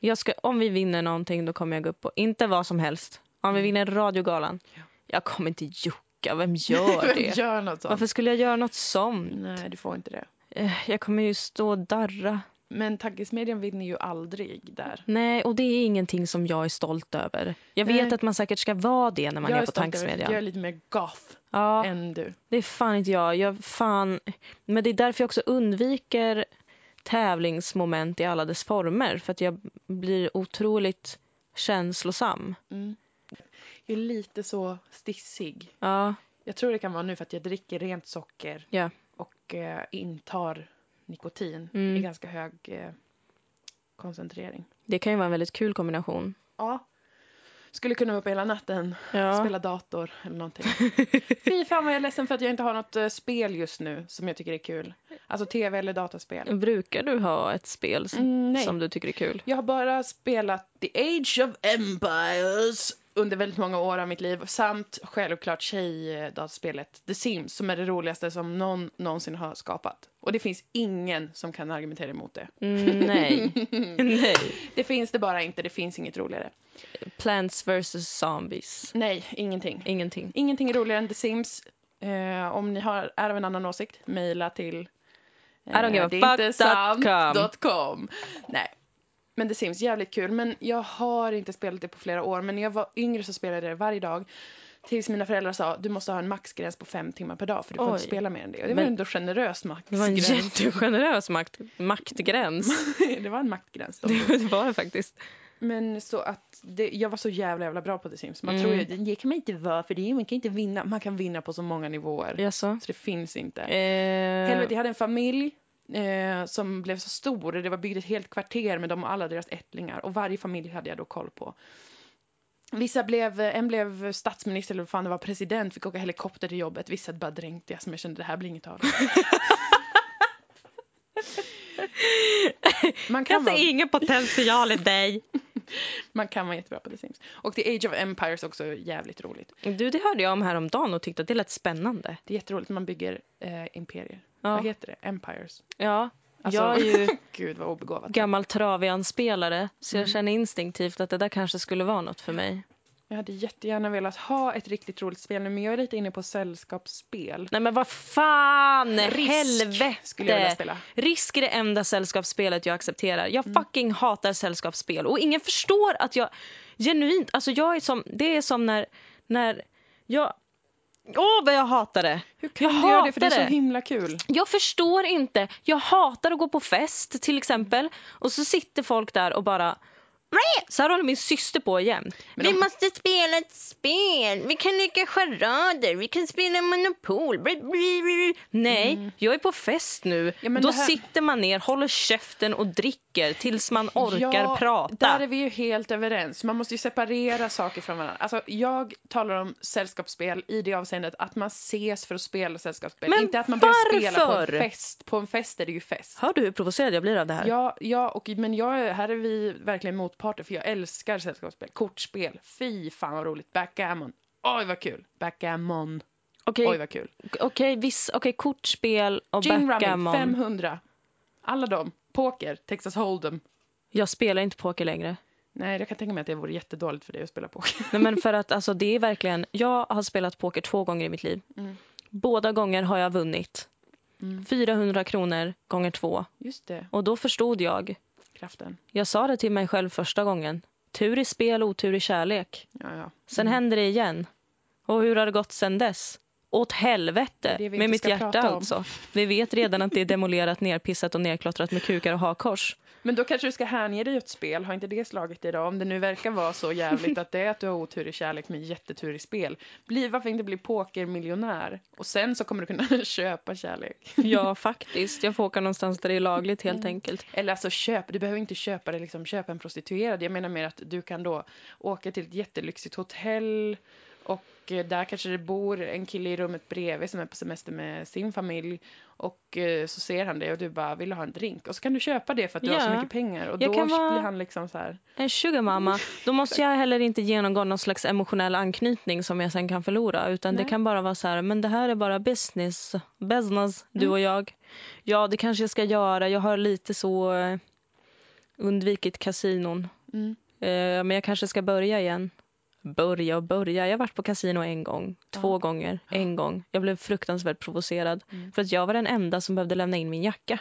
Speaker 2: Jag ska, om vi vinner någonting då kommer jag gå upp på, inte vad som helst. Om vi vinner radiogalan.
Speaker 1: Mm. Ja.
Speaker 2: Jag kommer inte jucka, vem gör
Speaker 1: [laughs] Vem
Speaker 2: det?
Speaker 1: Gör något sånt.
Speaker 2: Varför skulle jag göra något sånt?
Speaker 1: Nej, du får inte det.
Speaker 2: Eh, Jag kommer ju stå och darra.
Speaker 1: Men tankesmedjan vinner ju aldrig där.
Speaker 2: Nej, och det är ingenting som jag är stolt över. Jag vet
Speaker 1: Nej.
Speaker 2: att man säkert ska vara det när man är, på
Speaker 1: stolt över-
Speaker 2: tankesmedjan.
Speaker 1: Jag är lite mer goth
Speaker 2: Ja,
Speaker 1: än du.
Speaker 2: det är fan inte jag. jag fan... Men det är därför jag också undviker tävlingsmoment i alla dess former. För att jag blir otroligt känslosam.
Speaker 1: Mm. Jag är lite så stissig.
Speaker 2: Ja,
Speaker 1: Jag tror det kan vara nu för att jag dricker rent socker
Speaker 2: Ja.
Speaker 1: och eh, intar nikotin
Speaker 2: Mm.
Speaker 1: i ganska hög eh, koncentrering.
Speaker 2: det kan ju vara en väldigt kul kombination.
Speaker 1: Ja. Skulle kunna vara uppe hela natten,
Speaker 2: Ja.
Speaker 1: spela dator eller någonting.
Speaker 2: [laughs]
Speaker 1: Fy fan vad jag är ledsen för att jag inte har något eh, spel just nu som jag tycker är kul. Alltså tv eller dataspel.
Speaker 2: Brukar du ha ett spel som,
Speaker 1: Mm, nej. [laughs]
Speaker 2: som du tycker är kul?
Speaker 1: Jag har bara spelat The Age of Empires under väldigt många år av mitt liv samt självklart tjejdataspelet The Sims som är det roligaste som någon någonsin har skapat. Och det finns ingen som kan argumentera emot det.
Speaker 2: Mm, nej. nej.
Speaker 1: Det finns det bara inte, det finns inget roligare.
Speaker 2: Plants vs Zombies.
Speaker 1: Nej, ingenting.
Speaker 2: Ingenting.
Speaker 1: Ingenting är roligare än The Sims. Eh, om ni har, är av en annan åsikt, mejla till eh,
Speaker 2: I don't give a fuck dot com.
Speaker 1: com. Nej. Men The Sims, jävligt kul. Men jag har inte spelat det på flera år. Men när jag var yngre så spelade jag det varje dag. Tills mina föräldrar sa du måste ha en maxgräns på fem timmar per dag för du får
Speaker 2: Oj.
Speaker 1: inte spela mer än det. Och det
Speaker 2: Men-
Speaker 1: var ändå generös maxgräns.
Speaker 2: Det var en jättegenerös makt, [laughs] maktgräns.
Speaker 1: [laughs] det var en maktgräns. Då.
Speaker 2: Det var det faktiskt.
Speaker 1: Men så att det, jag var så jävla jävla bra på The Sims. Man
Speaker 2: Mm.
Speaker 1: tror ju det kan man inte vara för det, man kan inte vinna. Man kan vinna på så många nivåer.
Speaker 2: Jaså?
Speaker 1: Så det finns inte.
Speaker 2: Eh,
Speaker 1: Helvete, jag hade en familj eh, som blev så stor. Det var byggt ett helt kvarter med dem och alla deras ättlingar. Och varje familj hade jag då koll på. Vissa blev, eh, en blev statsminister eller vad fan det var, president, fick åka helikopter till jobbet. Vissa bara dränkte jag som jag kände det här blir inget
Speaker 2: [laughs]
Speaker 1: av det. Man kan,
Speaker 2: jag
Speaker 1: vara,
Speaker 2: ser ingen potential i dig.
Speaker 1: man kan vara jättebra på The Sims. Och The Age of Empires också är jävligt roligt.
Speaker 2: Du, det hörde jag om häromdagen och tyckte att det lät spännande.
Speaker 1: Det är jätteroligt, man bygger eh, imperier. Vad
Speaker 2: Ja.
Speaker 1: heter det? Empires.
Speaker 2: ja. [laughs]
Speaker 1: Alltså,
Speaker 2: jag är ju
Speaker 1: [laughs] Gud vad obegåvat.
Speaker 2: gammal Travian-spelare så jag känner instinktivt att det där kanske skulle vara något för mig.
Speaker 1: Jag hade jättegärna velat ha ett riktigt roligt spel nu, men jag är lite inne på sällskapsspel.
Speaker 2: Nej men vad fan!
Speaker 1: Risk
Speaker 2: Helvete!
Speaker 1: skulle jag vilja spela.
Speaker 2: Risk är det enda sällskapsspelet jag accepterar. Jag fucking hatar sällskapsspel. Och ingen förstår att jag genuint, alltså jag är som, det är som när, när jag, åh vad jag hatar det!
Speaker 1: Hur kan
Speaker 2: jag
Speaker 1: du göra det? För det är så
Speaker 2: hatar
Speaker 1: himla kul.
Speaker 2: Jag förstår inte. Jag hatar att gå på fest till exempel och så sitter folk där och bara "Mäh!" så här håller min syster på jämt.
Speaker 1: Men de-
Speaker 2: Vi måste spela ett spel. Vi kan leka charader. Vi kan spela Monopol. Bli, bli, bli. Nej, jag är på fest nu.
Speaker 1: Mm. Ja, men
Speaker 2: Då
Speaker 1: det här-
Speaker 2: sitter man ner, håller käften och dricker tills man orkar
Speaker 1: ja,
Speaker 2: prata.
Speaker 1: Där är vi ju helt överens. Man måste ju separera saker från varandra. Alltså, jag talar om sällskapsspel i det avseendet att man ses för att spela sällskapsspel.
Speaker 2: Men
Speaker 1: inte att man börjar spela på en
Speaker 2: varför?
Speaker 1: fest. På en fest är det ju fest.
Speaker 2: Hör du hur provocerad jag blir av det här?
Speaker 1: Ja, ja och, men jag, är- här är vi verkligen motparter för jag älskar sällskapsspel. Kortspel, fy fan vad roligt. Backgammon, oj vad kul. Backgammon,
Speaker 2: Okej,
Speaker 1: oj vad kul.
Speaker 2: okej, viss- okej, kortspel och
Speaker 1: Gin
Speaker 2: backgammon.
Speaker 1: Rummy, 500. Alla dem. Poker, Texas Hold'em.
Speaker 2: Jag spelar inte poker längre.
Speaker 1: Nej, jag kan tänka mig att det vore jättedåligt för dig att spela poker. [laughs]
Speaker 2: Nej, men för att alltså, det är verkligen, jag har spelat poker två gånger i mitt liv.
Speaker 1: Mm.
Speaker 2: Båda gånger har jag vunnit.
Speaker 1: Mm.
Speaker 2: 400 kronor gånger två.
Speaker 1: Just det,
Speaker 2: Och då förstod jag.
Speaker 1: kraften.
Speaker 2: Jag sa det till mig själv första gången. Tur i spel, otur i kärlek.
Speaker 1: Ja, ja.
Speaker 2: Sen händer det igen. Och hur har det gått sen dess? Åt helvete,
Speaker 1: Det är det vi
Speaker 2: med
Speaker 1: inte
Speaker 2: mitt
Speaker 1: ska
Speaker 2: hjärta
Speaker 1: prata om.
Speaker 2: alltså. Vi vet redan att det är demolerat, nerpissat och nerklottrat med kukar och
Speaker 1: [laughs]
Speaker 2: hakkors.
Speaker 1: Men då kanske du ska hänge dig åt spel. Har inte det slagit dig då? Om det nu verkar vara så jävligt att det är att du har otur i kärlek men jättetur i spel. Bli, varför inte bli pokermiljonär? Och sen så kommer du kunna [laughs] köpa kärlek.
Speaker 2: Ja, faktiskt. Jag får åka någonstans där det är lagligt helt enkelt.
Speaker 1: Eller alltså köp, du behöver inte köpa det liksom, köpa en prostituerad. Jag menar mer att du kan då åka till ett jättelyxigt hotell och eh, där kanske det bor en kille i rummet bredvid som är på semester med sin familj och eh, så ser han dig och du bara vill du ha en drink och så kan du köpa det för att du har så
Speaker 2: Ja.
Speaker 1: mycket pengar och
Speaker 2: Jag
Speaker 1: då
Speaker 2: kan vara-
Speaker 1: blir han liksom så här.
Speaker 2: En sugarmamma. Eh, Då måste jag heller inte genomgå någon slags emotionell anknytning som jag sen kan förlora. Utan
Speaker 1: Nej.
Speaker 2: det kan bara vara så här, men det här är bara business. Business, du och
Speaker 1: Mm.
Speaker 2: jag. Ja, det kanske jag ska göra. Jag har lite så eh, undvikit kasinon.
Speaker 1: Mm.
Speaker 2: Eh, men jag kanske ska börja igen. Börja och börja. Jag har varit på kasino en gång, två
Speaker 1: Ja.
Speaker 2: gånger, en gång. Jag blev fruktansvärt provocerad.
Speaker 1: Mm.
Speaker 2: För att jag var den enda som behövde lämna in min jacka.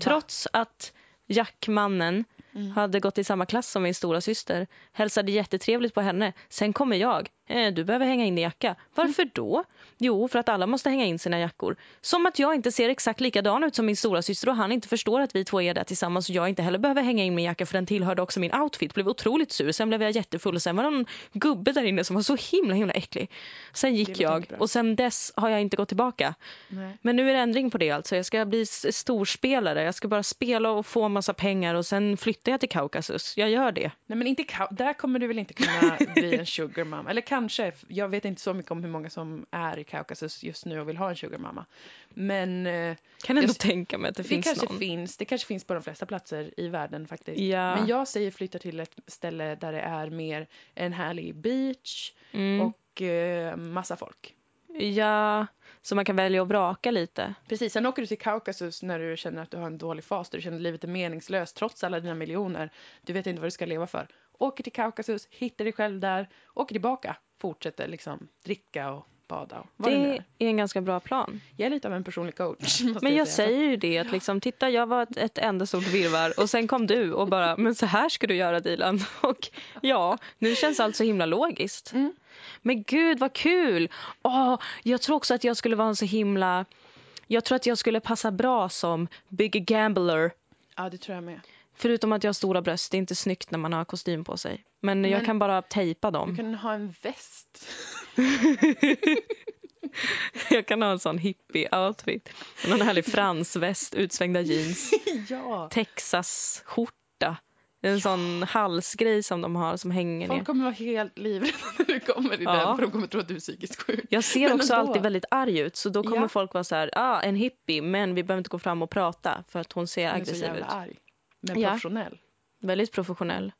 Speaker 2: Trots att jackmannen
Speaker 1: Mm.
Speaker 2: hade gått i samma klass som min stora syster. Hälsade jättetrevligt på henne. Sen kommer jag. Eh, du behöver hänga in din jacka. Varför då? Jo, för att alla måste hänga in sina jackor. Som att jag inte ser exakt likadan ut som min stora syster och han inte förstår att vi två är där tillsammans och jag inte heller behöver hänga in min jacka för den tillhörde också min outfit. Blev otroligt sur. Sen blev jag jättefull och sen var det någon gubbe där inne som var så himla himla äcklig. Sen gick
Speaker 1: låter
Speaker 2: jag
Speaker 1: inte bra.
Speaker 2: och sen dess har jag inte gått tillbaka.
Speaker 1: Nej.
Speaker 2: Men nu är det ändring på det alltså. Jag ska bli s- storspelare. Jag ska bara spela och få massa pengar och sen flyttar jag till Kaukasus. Jag gör det.
Speaker 1: Nej men inte ka- där kommer du väl inte kunna bli en sugar mom. Eller kanske, jag vet inte så mycket om hur många som är i Kaukasus just nu och vill ha en sugar mama. Men eh,
Speaker 2: Kan ändå
Speaker 1: Just-
Speaker 2: tänka mig att det,
Speaker 1: det,
Speaker 2: finns
Speaker 1: kanske
Speaker 2: någon.
Speaker 1: finns, det kanske finns på de flesta platser i världen faktiskt.
Speaker 2: ja.
Speaker 1: Men jag säger flytta till ett ställe där det är mer en härlig beach
Speaker 2: mm.
Speaker 1: och eh, massa folk.
Speaker 2: ja, så man kan välja att vraka lite.
Speaker 1: Precis, sen åker du till Kaukasus när du känner att du har en dålig fas, där du känner att livet är meningslöst trots alla dina miljoner. Du vet inte vad du ska leva för. Åker till Kaukasus, hittar dig själv där, åker tillbaka, fortsätter liksom dricka och bada och vad det, nu
Speaker 2: det
Speaker 1: är.
Speaker 2: är en ganska bra plan.
Speaker 1: Jag är lite av en personlig coach. [laughs] måste
Speaker 2: Men jag
Speaker 1: säga.
Speaker 2: säger ju det att liksom, titta jag var ett, ett enda stort virvar och sen kom du och bara, men så här ska du göra Dilan. [laughs] Och ja, nu känns allt så himla logiskt.
Speaker 1: Mm.
Speaker 2: Men gud vad kul! Åh, jag tror också att jag skulle vara en så himla, jag tror att jag skulle passa bra som Big Gambler.
Speaker 1: Ja, det tror jag med.
Speaker 2: Förutom att jag har stora bröst, det är inte snyggt när man har kostym på sig. Men, jag
Speaker 1: Men-
Speaker 2: kan bara tejpa dem.
Speaker 1: Du kan ha en väst.
Speaker 2: [laughs]
Speaker 1: [laughs]
Speaker 2: Jag kan ha en sån hippie-outfit. Någon härlig fransväst, utsvängda jeans.
Speaker 1: ja.
Speaker 2: Texas-skjorta. En sån halsgrej som de har som hänger
Speaker 1: Folk
Speaker 2: ner.
Speaker 1: kommer vara helt livrädda [laughs] när du kommer i
Speaker 2: Ja.
Speaker 1: den för de kommer tro att du är psykiskt sjuk.
Speaker 2: Jag ser
Speaker 1: Men
Speaker 2: också
Speaker 1: ändå.
Speaker 2: alltid väldigt arg ut så då kommer
Speaker 1: Ja.
Speaker 2: folk vara så här, ah, en hippie men vi behöver inte gå fram och prata för att hon ser
Speaker 1: Jag är så
Speaker 2: aggressiv
Speaker 1: jävla
Speaker 2: ut.
Speaker 1: arg. Men
Speaker 2: Ja.
Speaker 1: professionell.
Speaker 2: Väldigt professionell.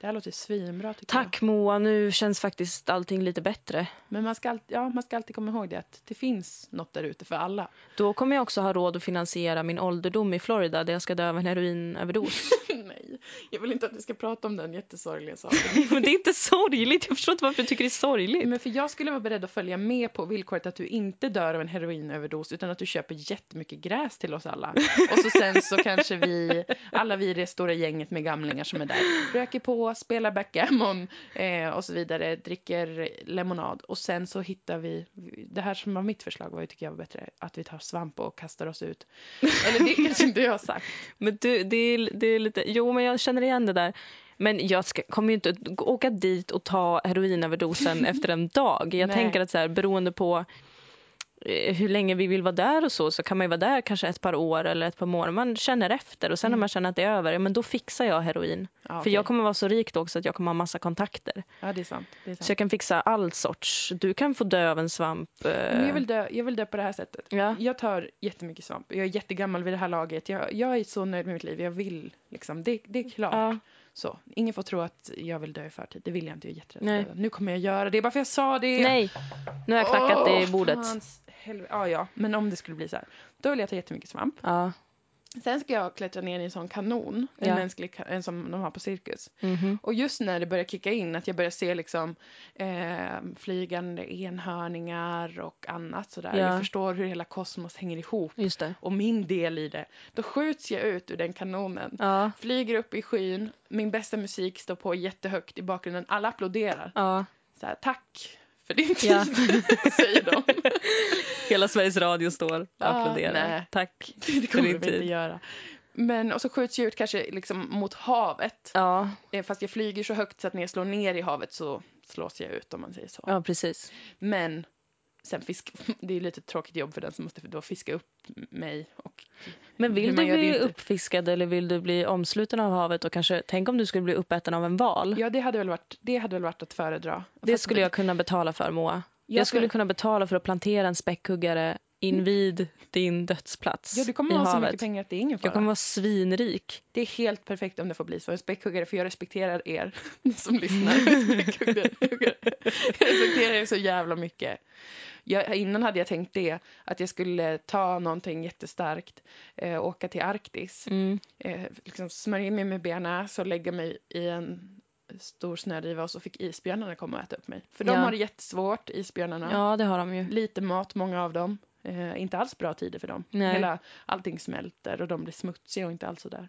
Speaker 1: Det här låter svinbra tycker jag.
Speaker 2: Tack Moa, nu känns faktiskt allting lite bättre.
Speaker 1: Men man ska, alltid, ja, man ska alltid komma ihåg det att det finns något där ute för alla. [laughs]
Speaker 2: Då kommer jag också ha råd att finansiera min ålderdom i Florida där jag ska dö av en heroinöverdos.
Speaker 1: Nej, jag vill inte att vi ska prata om den jättesorgliga saken.
Speaker 2: [laughs] men det är inte sorgligt, jag förstår inte varför du tycker det är sorgligt.
Speaker 1: Men för jag skulle vara beredd att följa med på villkoret att du inte dör av en heroinöverdos utan att du köper jättemycket gräs till oss alla. Och så sen så kanske vi, alla vi i det stora gänget med gamlingar som är där, röker på, spelar backgammon eh, och så vidare, dricker lemonad. Och sen så hittar vi, det här som var mitt förslag var ju tycker jag var bättre, att vi tar svamp och kastar oss ut. Eller det kanske inte jag har sagt.
Speaker 2: Men du, det är, det är lite, jo men jag känner igen det där. Men jag ska, kommer ju inte att gå- åka dit och ta heroinöverdosen
Speaker 1: [laughs]
Speaker 2: efter en dag. Jag
Speaker 1: Nej.
Speaker 2: tänker att så här, beroende på eh, hur länge vi vill vara där och så, så kan man ju vara där kanske ett par år eller ett par månader. Man känner efter och sen när man känner att det är över, ja, men då fixar jag heroin.
Speaker 1: Mm. Ja,
Speaker 2: För
Speaker 1: okej.
Speaker 2: jag kommer vara så rik då också att jag kommer ha massa kontakter.
Speaker 1: Ja, det är sant. Det är sant.
Speaker 2: Så jag kan fixa all sorts. Du kan få dö av en svamp. eh.
Speaker 1: Men jag, vill dö, jag vill dö på det här sättet.
Speaker 2: Ja.
Speaker 1: Jag tar jättemycket svamp. Jag är jättegammal vid det här laget. Jag, jag är så nöjd med mitt liv. Jag vill liksom. Det, det är klart.
Speaker 2: Ja.
Speaker 1: Så. Ingen får tro att jag vill dö i förtid. Det vill jag inte. Jag är jätterädd
Speaker 2: Nej.
Speaker 1: för att dö. Nu kommer jag göra det. Bara för jag sa det.
Speaker 2: Nej, nu har jag knackat
Speaker 1: Åh,
Speaker 2: i bordet.
Speaker 1: fans helv- Ja, ja. Men om det skulle bli så här. Då vill jag ta jättemycket svamp.
Speaker 2: Ja.
Speaker 1: Sen ska jag klättra ner i en sån kanon. En
Speaker 2: Ja.
Speaker 1: mänsklig ka- en som de har på cirkus.
Speaker 2: Mhm.
Speaker 1: Och just när det börjar kicka in, att jag börjar se liksom, eh, flygande enhörningar och annat sådär.
Speaker 2: Ja.
Speaker 1: Jag förstår hur hela kosmos hänger ihop
Speaker 2: Just det.
Speaker 1: och min del i det. Då skjuts jag ut ur den kanonen.
Speaker 2: Ja.
Speaker 1: Flyger upp i skyn, min bästa musik står på jättehögt i bakgrunden. Alla applåderar.
Speaker 2: Ja.
Speaker 1: Så här, tack för din tid,
Speaker 2: Ja.
Speaker 1: [laughs] säger de.
Speaker 2: [laughs] Hela Sveriges Radio står och
Speaker 1: Ja,
Speaker 2: applåderar.
Speaker 1: nej.
Speaker 2: Tack.
Speaker 1: Det kommer
Speaker 2: din
Speaker 1: de inte
Speaker 2: tid.
Speaker 1: göra. Men, och så skjuts jag ut kanske liksom mot havet.
Speaker 2: Ja,
Speaker 1: Eh, Fast jag flyger så högt så att när jag slår ner i havet så slås jag ut om man säger så.
Speaker 2: ja precis.
Speaker 1: Men sen fisk, [laughs] det är lite ett tråkigt jobb för den som måste då fiska upp mig. Och,
Speaker 2: Men
Speaker 1: Hur
Speaker 2: vill
Speaker 1: man
Speaker 2: du
Speaker 1: gör det
Speaker 2: bli
Speaker 1: inte.
Speaker 2: uppfiskad eller vill du bli omsluten av havet? Och kanske, tänk om du skulle bli uppäten av en val.
Speaker 1: ja, det hade, väl varit, det hade väl varit att föredra.
Speaker 2: Det
Speaker 1: Fast-
Speaker 2: skulle jag kunna betala för, Moa. Jag,
Speaker 1: Jag
Speaker 2: skulle
Speaker 1: tror-
Speaker 2: kunna betala för att plantera en späckhuggare invid din dödsplats
Speaker 1: Ja, du kommer
Speaker 2: i
Speaker 1: ha så
Speaker 2: havet.
Speaker 1: mycket pengar att det är ingen fara.
Speaker 2: jag kommer vara svinrik.
Speaker 1: Det är helt perfekt om det får bli så. En späckhuggare, för jag respekterar er [laughs] ni som lyssnar.
Speaker 2: [laughs]
Speaker 1: Späckhuggare. jag respekterar er så jävla mycket. Jag, innan hade jag tänkt det, att jag skulle ta någonting jättestarkt, eh, åka till Arktis,
Speaker 2: Mm.
Speaker 1: eh, liksom smörja in mig med bearnaise och lägga mig i en stor snödriva och så fick isbjörnarna komma och äta upp mig. För de
Speaker 2: Ja.
Speaker 1: har det jättesvårt, isbjörnarna.
Speaker 2: Ja, det har de ju.
Speaker 1: Lite mat, många av dem. Eh, inte alls bra tider för dem.
Speaker 2: Nej.
Speaker 1: Hela, allting smälter och de blir smutsiga och inte alls så där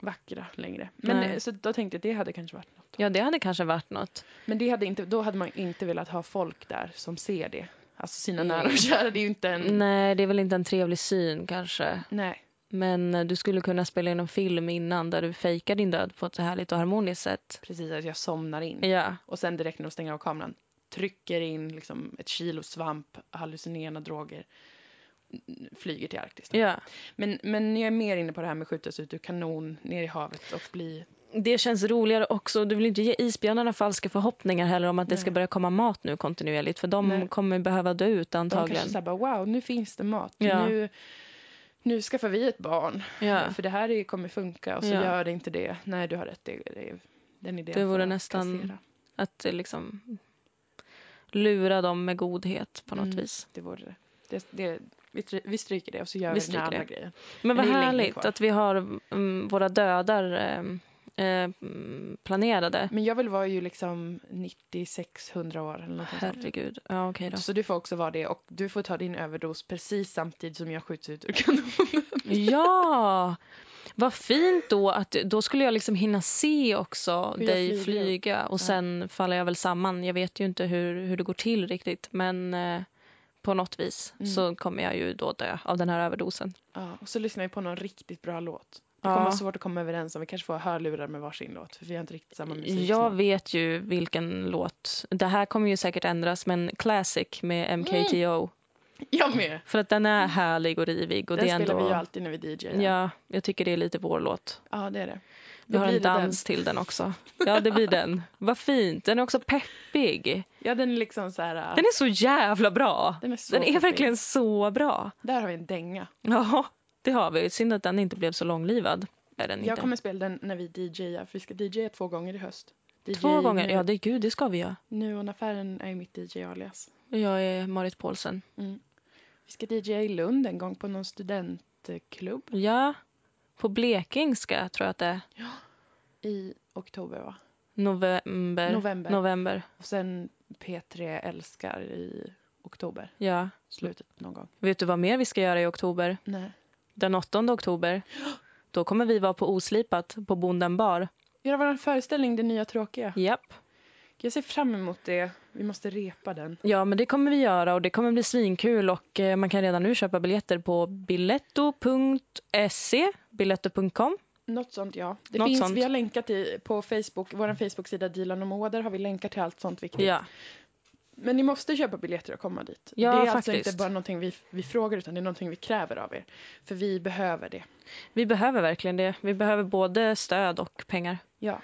Speaker 1: vackra längre. Men
Speaker 2: Nej.
Speaker 1: eh, så då tänkte jag det hade kanske varit något.
Speaker 2: Ja, det hade kanske varit något.
Speaker 1: Men det hade inte, då hade man inte velat ha folk där som ser det. Alltså sina
Speaker 2: Mm.
Speaker 1: nära och kära, det är ju inte en...
Speaker 2: Nej, det är väl inte en trevlig syn kanske.
Speaker 1: Nej.
Speaker 2: Men eh, du skulle kunna spela in en film innan där du fejkar din död på ett härligt och harmoniskt sätt.
Speaker 1: Precis, att jag somnar in.
Speaker 2: Ja,
Speaker 1: Och sen direkt när de stänger av kameran trycker in liksom ett kilo svamp, hallucinogena droger, n- flyger till Arktis.
Speaker 2: ja.
Speaker 1: Men, men jag är mer inne på det här med att skjutas ut ur kanon ner i havet och bli
Speaker 2: det känns roligare också. Du vill inte ge isbjörnarna falska förhoppningar heller om att det
Speaker 1: Nej.
Speaker 2: ska börja komma mat nu kontinuerligt för de
Speaker 1: Nej.
Speaker 2: kommer behöva dö ut
Speaker 1: De
Speaker 2: antagligen.
Speaker 1: kanske säger bara wow, nu finns det mat.
Speaker 2: Ja.
Speaker 1: Nu, nu skaffar vi ett barn.
Speaker 2: ja.
Speaker 1: För det här är, kommer funka och så
Speaker 2: Ja.
Speaker 1: gör det inte det. Nej, du har rätt. Det, det, den idén
Speaker 2: Det vore
Speaker 1: får jag
Speaker 2: nästan-
Speaker 1: kassera.
Speaker 2: Att eh, liksom lura dem med godhet på något
Speaker 1: Mm.
Speaker 2: vis.
Speaker 1: Det vore det. det, det vi, try- vi stryker det och så gör
Speaker 2: Vi
Speaker 1: vi, den
Speaker 2: stryker
Speaker 1: här
Speaker 2: det.
Speaker 1: andra grejen.
Speaker 2: Men vad
Speaker 1: det är länge
Speaker 2: härligt
Speaker 1: kvar.
Speaker 2: att vi har mm, våra dödar eh, eh, planerade.
Speaker 1: Men jag vill vara ju liksom 96-100 år eller något sånt.
Speaker 2: Herregud. Ja, okej då.
Speaker 1: Så du får också vara det och du får ta din överdos precis samtidigt som jag skjuts ut
Speaker 2: [laughs]
Speaker 1: ur kanonen.
Speaker 2: Ja! Vad fint då att då skulle jag liksom hinna se också
Speaker 1: Hur jag
Speaker 2: dig
Speaker 1: flyger.
Speaker 2: flyga och
Speaker 1: Ja.
Speaker 2: sen faller jag väl samman. Jag vet ju inte hur, hur det går till riktigt men eh, på något vis
Speaker 1: Mm.
Speaker 2: så kommer jag ju då dö av den här överdosen.
Speaker 1: Ja, och så lyssnar vi på någon riktigt bra låt. Det
Speaker 2: Ja.
Speaker 1: kommer vara svårt att komma överens om. Vi kanske får hörlurar med varsin låt för vi har inte riktigt samma musik.
Speaker 2: Jag vet ju vilken låt, det här kommer ju säkert ändras men Classic
Speaker 1: Mm.
Speaker 2: med MKTO
Speaker 1: Jag med!
Speaker 2: för att den är härlig och rivig och
Speaker 1: Mm. Den
Speaker 2: det är
Speaker 1: spelar vi ju
Speaker 2: ändå,
Speaker 1: alltid när vi DJar.
Speaker 2: ja, jag tycker det är lite vår låt.
Speaker 1: ja, det är det.
Speaker 2: Vi
Speaker 1: Då
Speaker 2: har
Speaker 1: blir
Speaker 2: en
Speaker 1: det den.
Speaker 2: dans till den också. Ja, det blir den. Vad fint. Den är också peppig.
Speaker 1: Ja, den är liksom så här...
Speaker 2: Den är så jävla bra.
Speaker 1: den är, så
Speaker 2: Den är
Speaker 1: peppig.
Speaker 2: verkligen så bra.
Speaker 1: Där har vi en dänga.
Speaker 2: Ja, det har vi. Synd att den inte blev så långlivad. Är den
Speaker 1: Jag
Speaker 2: inte.
Speaker 1: kommer spela den när vi DJar, för vi ska DJa två gånger i höst. DJ
Speaker 2: Två gånger.
Speaker 1: Nu,
Speaker 2: Ja, det, gud, det ska vi göra.
Speaker 1: Nuonaffären är ju mitt DJ-alias.
Speaker 2: Jag är Marit Paulsen.
Speaker 1: Mm. Vi ska DJa i Lund en gång på någon studentklubb
Speaker 2: Ja, på blekingska tror jag att det är.
Speaker 1: i oktober, va?
Speaker 2: November.
Speaker 1: November.
Speaker 2: November.
Speaker 1: Och sen P3 Älskar i oktober,
Speaker 2: Ja.
Speaker 1: slutet någon gång.
Speaker 2: Vet du vad mer vi ska göra i oktober?
Speaker 1: Nej.
Speaker 2: Den 8
Speaker 1: [gasps]
Speaker 2: oktober. Då kommer vi vara på Oslipat på Bonden bar.
Speaker 1: Göra vår föreställning Det nya tråkiga.
Speaker 2: Japp.
Speaker 1: Jag ser fram emot det. Vi måste repa den.
Speaker 2: Ja, men det kommer vi göra och det kommer bli svinkul och eh, man kan redan nu köpa biljetter på biletto.se, biletto.com.
Speaker 1: Något sånt, ja. Det
Speaker 2: Något
Speaker 1: finns,
Speaker 2: sånt. Mm.
Speaker 1: Vi har länkat i, på Facebook, vår Facebook-sida Dilan och Moder har vi länkar till allt sånt viktigt.
Speaker 2: Ja,
Speaker 1: Men ni måste köpa biljetter och komma dit.
Speaker 2: Ja,
Speaker 1: det är alltså
Speaker 2: faktiskt.
Speaker 1: inte bara någonting vi, vi frågar utan det är någonting vi kräver av er. För vi behöver det.
Speaker 2: vi behöver verkligen det. Vi behöver både stöd och pengar.
Speaker 1: Ja.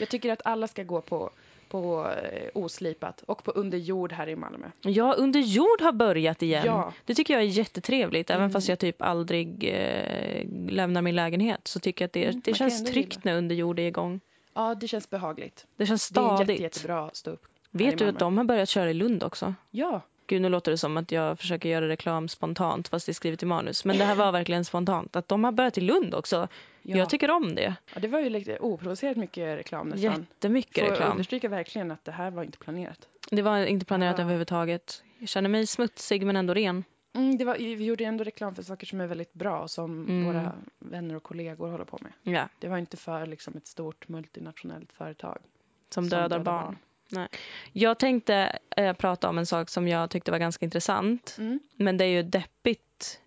Speaker 1: Jag tycker att alla ska gå på, på eh, Oslipat och på Under jord här i Malmö.
Speaker 2: Ja, Under jord har börjat igen.
Speaker 1: Ja.
Speaker 2: Det tycker jag är jättetrevligt. Även
Speaker 1: Mm.
Speaker 2: fast jag typ aldrig eh, lämnar min lägenhet så tycker jag att det, det
Speaker 1: Mm, man kan
Speaker 2: känns
Speaker 1: ändå
Speaker 2: tryggt
Speaker 1: gilla.
Speaker 2: när Under jord är igång.
Speaker 1: Ja, det känns behagligt.
Speaker 2: Det känns
Speaker 1: Det är
Speaker 2: stadigt.
Speaker 1: jätte, jättebra ståupp. här i
Speaker 2: Vet du att
Speaker 1: Malmö.
Speaker 2: de har börjat köra i Lund också?
Speaker 1: Ja,
Speaker 2: Gud, nu låter det som att jag försöker göra reklam spontant fast det är skrivet i manus. Men det här var verkligen spontant. Att de har börjat i Lund också.
Speaker 1: ja.
Speaker 2: Jag tycker om det.
Speaker 1: ja. Det var ju lite oprovocerat mycket reklam nästan.
Speaker 2: Jättemycket
Speaker 1: Får
Speaker 2: reklam.
Speaker 1: understryka verkligen att det här var inte planerat.
Speaker 2: Det var inte planerat
Speaker 1: Ja.
Speaker 2: överhuvudtaget. Jag känner mig smutsig men ändå ren.
Speaker 1: Mm, det var, vi gjorde ändå reklam för saker som är väldigt bra och som
Speaker 2: Mm.
Speaker 1: våra vänner och kollegor håller på med.
Speaker 2: Ja,
Speaker 1: Det var inte för liksom, ett stort multinationellt företag.
Speaker 2: som, dödar, barn. Jag tänkte eh, prata om en sak som jag tyckte var ganska intressant.
Speaker 1: Mm.
Speaker 2: Men det är ju deppigt.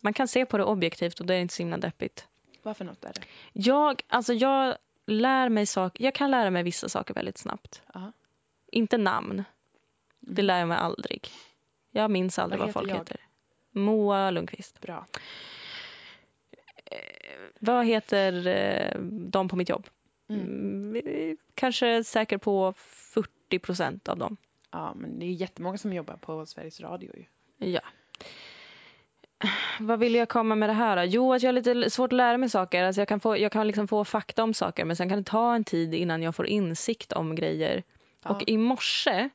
Speaker 2: Man kan se på det objektivt och då är det inte så himla deppigt.
Speaker 1: Vad för något är det?
Speaker 2: Jag, alltså jag lär mig saker. Jag kan lära mig vissa saker väldigt snabbt.
Speaker 1: Ja.
Speaker 2: Inte namn. Det lär jag mig aldrig. Jag minns aldrig vad,
Speaker 1: Vad
Speaker 2: folk
Speaker 1: heter jag?
Speaker 2: heter. Moa Lundqvist.
Speaker 1: Bra.
Speaker 2: Vad heter eh, de på mitt jobb? Mm, kanske säker på 40 procent av dem.
Speaker 1: Ja, men det är jättemånga som jobbar på Sveriges Radio ju.
Speaker 2: Ja. Vad vill jag komma med det här då? Jo, att jag har lite l- svårt att lära mig saker. Alltså jag kan, få, jag kan liksom få fakta om saker men sen kan det ta en tid innan jag får insikt om grejer.
Speaker 1: Ja.
Speaker 2: Och i morse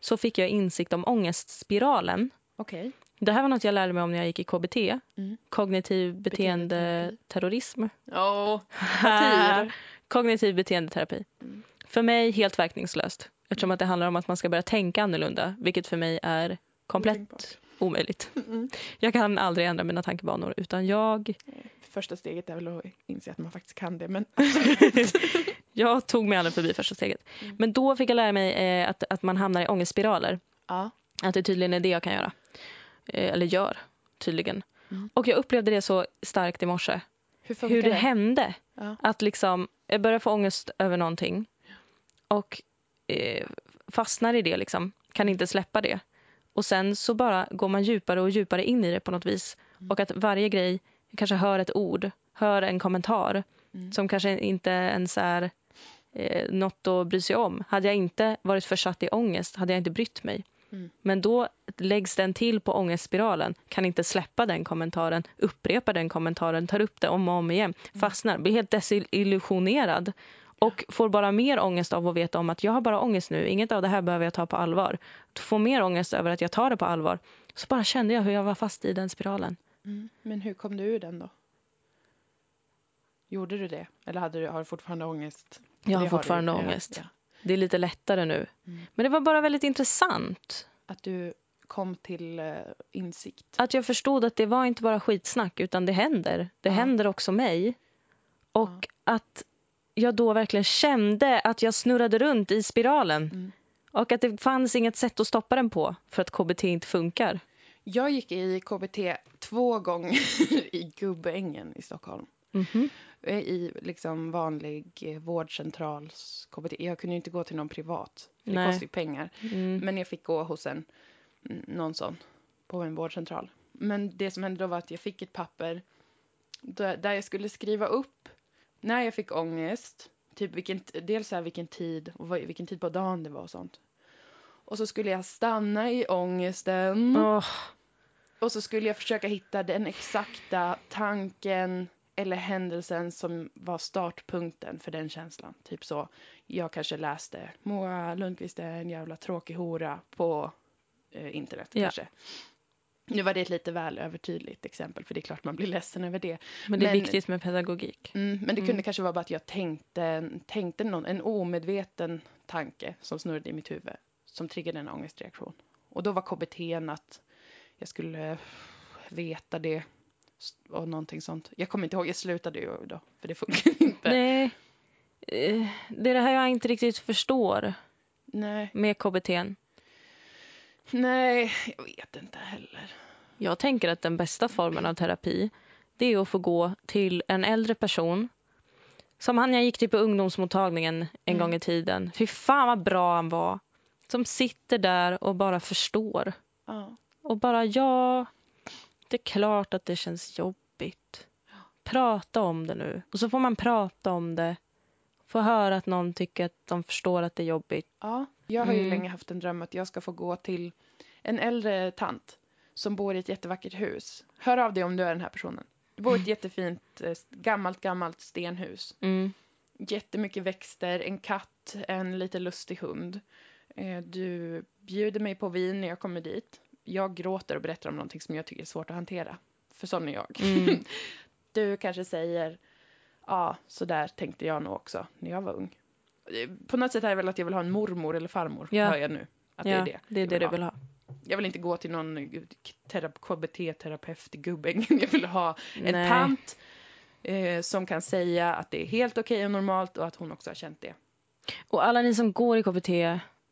Speaker 2: så fick jag insikt om ångestspiralen.
Speaker 1: Okej.
Speaker 2: Det här var något jag lärde mig om när jag gick i KBT.
Speaker 1: Mm.
Speaker 2: Kognitiv beteendeterrorism.
Speaker 1: Ja,
Speaker 2: Partier. Kognitiv beteendeterapi.
Speaker 1: Mm.
Speaker 2: För mig helt verkningslöst. Eftersom att det handlar om att man ska börja tänka annorlunda. Vilket för mig är komplett
Speaker 1: Otänkbart.
Speaker 2: omöjligt.
Speaker 1: Mm.
Speaker 2: Jag kan aldrig ändra mina tankebanor. Utan jag,
Speaker 1: Första steget är väl att inse att man faktiskt kan det, men
Speaker 2: jag tog mig aldrig förbi första steget.
Speaker 1: Mm.
Speaker 2: Men då fick jag lära mig eh, att, att man hamnar i ångestspiraler.
Speaker 1: ja.
Speaker 2: Att det tydligen är det jag kan göra. Eh, eller gör, tydligen. Och jag upplevde det så starkt i morse.
Speaker 1: Hur Mm. funkar
Speaker 2: hur det,
Speaker 1: det?
Speaker 2: hände.
Speaker 1: Ja.
Speaker 2: Att liksom, jag börjar få ångest över någonting och eh, fastnar i det, liksom. kan inte släppa det. Och Sen så bara går man djupare och djupare
Speaker 1: Mm.
Speaker 2: in i det på något vis. Och att varje grej, jag kanske hör ett ord, hör en kommentar,
Speaker 1: Mm.
Speaker 2: som kanske inte ens är eh, något att bry sig om. Hade jag inte varit försatt i ångest hade jag inte brytt mig.
Speaker 1: Mm.
Speaker 2: Men då läggs den till på ångestspiralen, kan inte släppa den kommentaren, upprepar den kommentaren, tar upp det om och om igen,
Speaker 1: Mm.
Speaker 2: fastnar, blir helt desillusionerad och får bara mer ångest av att veta om att jag har bara ångest nu, inget av det här behöver jag ta på allvar. Får mer ångest över att jag tar det på allvar. Så bara kände jag hur jag var fast i den spiralen.
Speaker 1: Mm. Men hur kom du ur den då? Gjorde du det? Eller hade du, har du fortfarande ångest?
Speaker 2: Jag har
Speaker 1: Det du,
Speaker 2: fortfarande
Speaker 1: ja,
Speaker 2: ångest.
Speaker 1: ja.
Speaker 2: Det är lite lättare nu.
Speaker 1: Mm.
Speaker 2: Men det var bara väldigt intressant.
Speaker 1: Att du kom till eh, insikt.
Speaker 2: Att jag förstod att det var inte bara skitsnack, utan det händer. Det
Speaker 1: Ja.
Speaker 2: händer också mig. Och att jag då verkligen kände att jag snurrade runt i spiralen.
Speaker 1: Mm.
Speaker 2: Och att det fanns inget sätt att stoppa den på, för att KBT inte funkar.
Speaker 1: Jag gick i KBT två gånger [laughs] i Gubbängen i Stockholm.
Speaker 2: Mhm.
Speaker 1: Jag är i liksom vanlig eh, vårdcentrals KBT. Jag kunde ju inte gå till någon privat, för det
Speaker 2: Nej.
Speaker 1: kostar ju pengar.
Speaker 2: Mm.
Speaker 1: Men jag fick gå hos en, mm, någon sån på en vårdcentral. Men det som hände då var att jag fick ett papper där, där jag skulle skriva upp när jag fick ångest, typ vilken, dels så här vilken tid och vad, vilken tid på dagen det var och sånt. Och så skulle jag stanna i ångesten.
Speaker 2: Åh,
Speaker 1: Och så skulle jag försöka hitta den exakta tanken eller händelsen som var startpunkten för den känslan. Typ så, jag kanske läste Moa Lundqvist är en jävla tråkig hora på eh, internet
Speaker 2: Ja.
Speaker 1: kanske. Nu var det ett lite väl övertydligt exempel för det är klart man blir ledsen över det.
Speaker 2: men det är
Speaker 1: Men-
Speaker 2: viktigt med pedagogik.
Speaker 1: Mm, men det kunde
Speaker 2: Mm.
Speaker 1: kanske vara bara att jag tänkte, tänkte någon, en omedveten tanke som snurrade i mitt huvud som triggade en ångestreaktion. Och då var KBT att jag skulle veta det och någonting sånt. Jag kommer inte ihåg, jag slutade ju då, för det funkar inte. Nej.
Speaker 2: Nej. Eh, Det är det här jag inte riktigt förstår
Speaker 1: Nej.
Speaker 2: med KBT.
Speaker 1: jag vet inte heller.
Speaker 2: Jag tänker att den bästa formen av terapi det är att få gå till en äldre person. Som han jag gick till på ungdomsmottagningen en
Speaker 1: Mm.
Speaker 2: gång i tiden. Fy fan vad bra han var. Som sitter där och bara förstår.
Speaker 1: Ja.
Speaker 2: Och bara ja, det är klart att det känns jobbigt. Prata om det nu. Och så får man prata om det. Få höra att någon tycker att de förstår att det är jobbigt.
Speaker 1: ja. Jag har ju
Speaker 2: Mm.
Speaker 1: länge haft en dröm att jag ska få gå till en äldre tant som bor i ett jättevackert hus. Hör av dig om du är den här personen. Det bor i ett jättefint, eh, gammalt, gammalt stenhus.
Speaker 2: Mm.
Speaker 1: jättemycket växter, en katt, en lite lustig hund. Eh, Du bjuder mig på vin när jag kommer dit. Jag gråter och berättar om någonting som jag tycker är svårt att hantera. För sån är jag.
Speaker 2: Mm.
Speaker 1: Du kanske säger, ja, så där tänkte jag nog också när jag var ung. Eh, På något sätt är det väl att jag vill ha en mormor eller farmor,
Speaker 2: Ja.
Speaker 1: hör jag nu. [laughs] Att det
Speaker 2: ja,
Speaker 1: är det.
Speaker 2: det är
Speaker 1: jag
Speaker 2: det du
Speaker 1: ha.
Speaker 2: vill ha.
Speaker 1: Jag vill inte gå till någon terap- KBT-terapeut i Gubbängen. [laughs] Jag vill ha en
Speaker 2: Nej.
Speaker 1: tant eh, som kan säga att det är helt okej och normalt och att hon också har känt det.
Speaker 2: Och alla ni som går i KBT,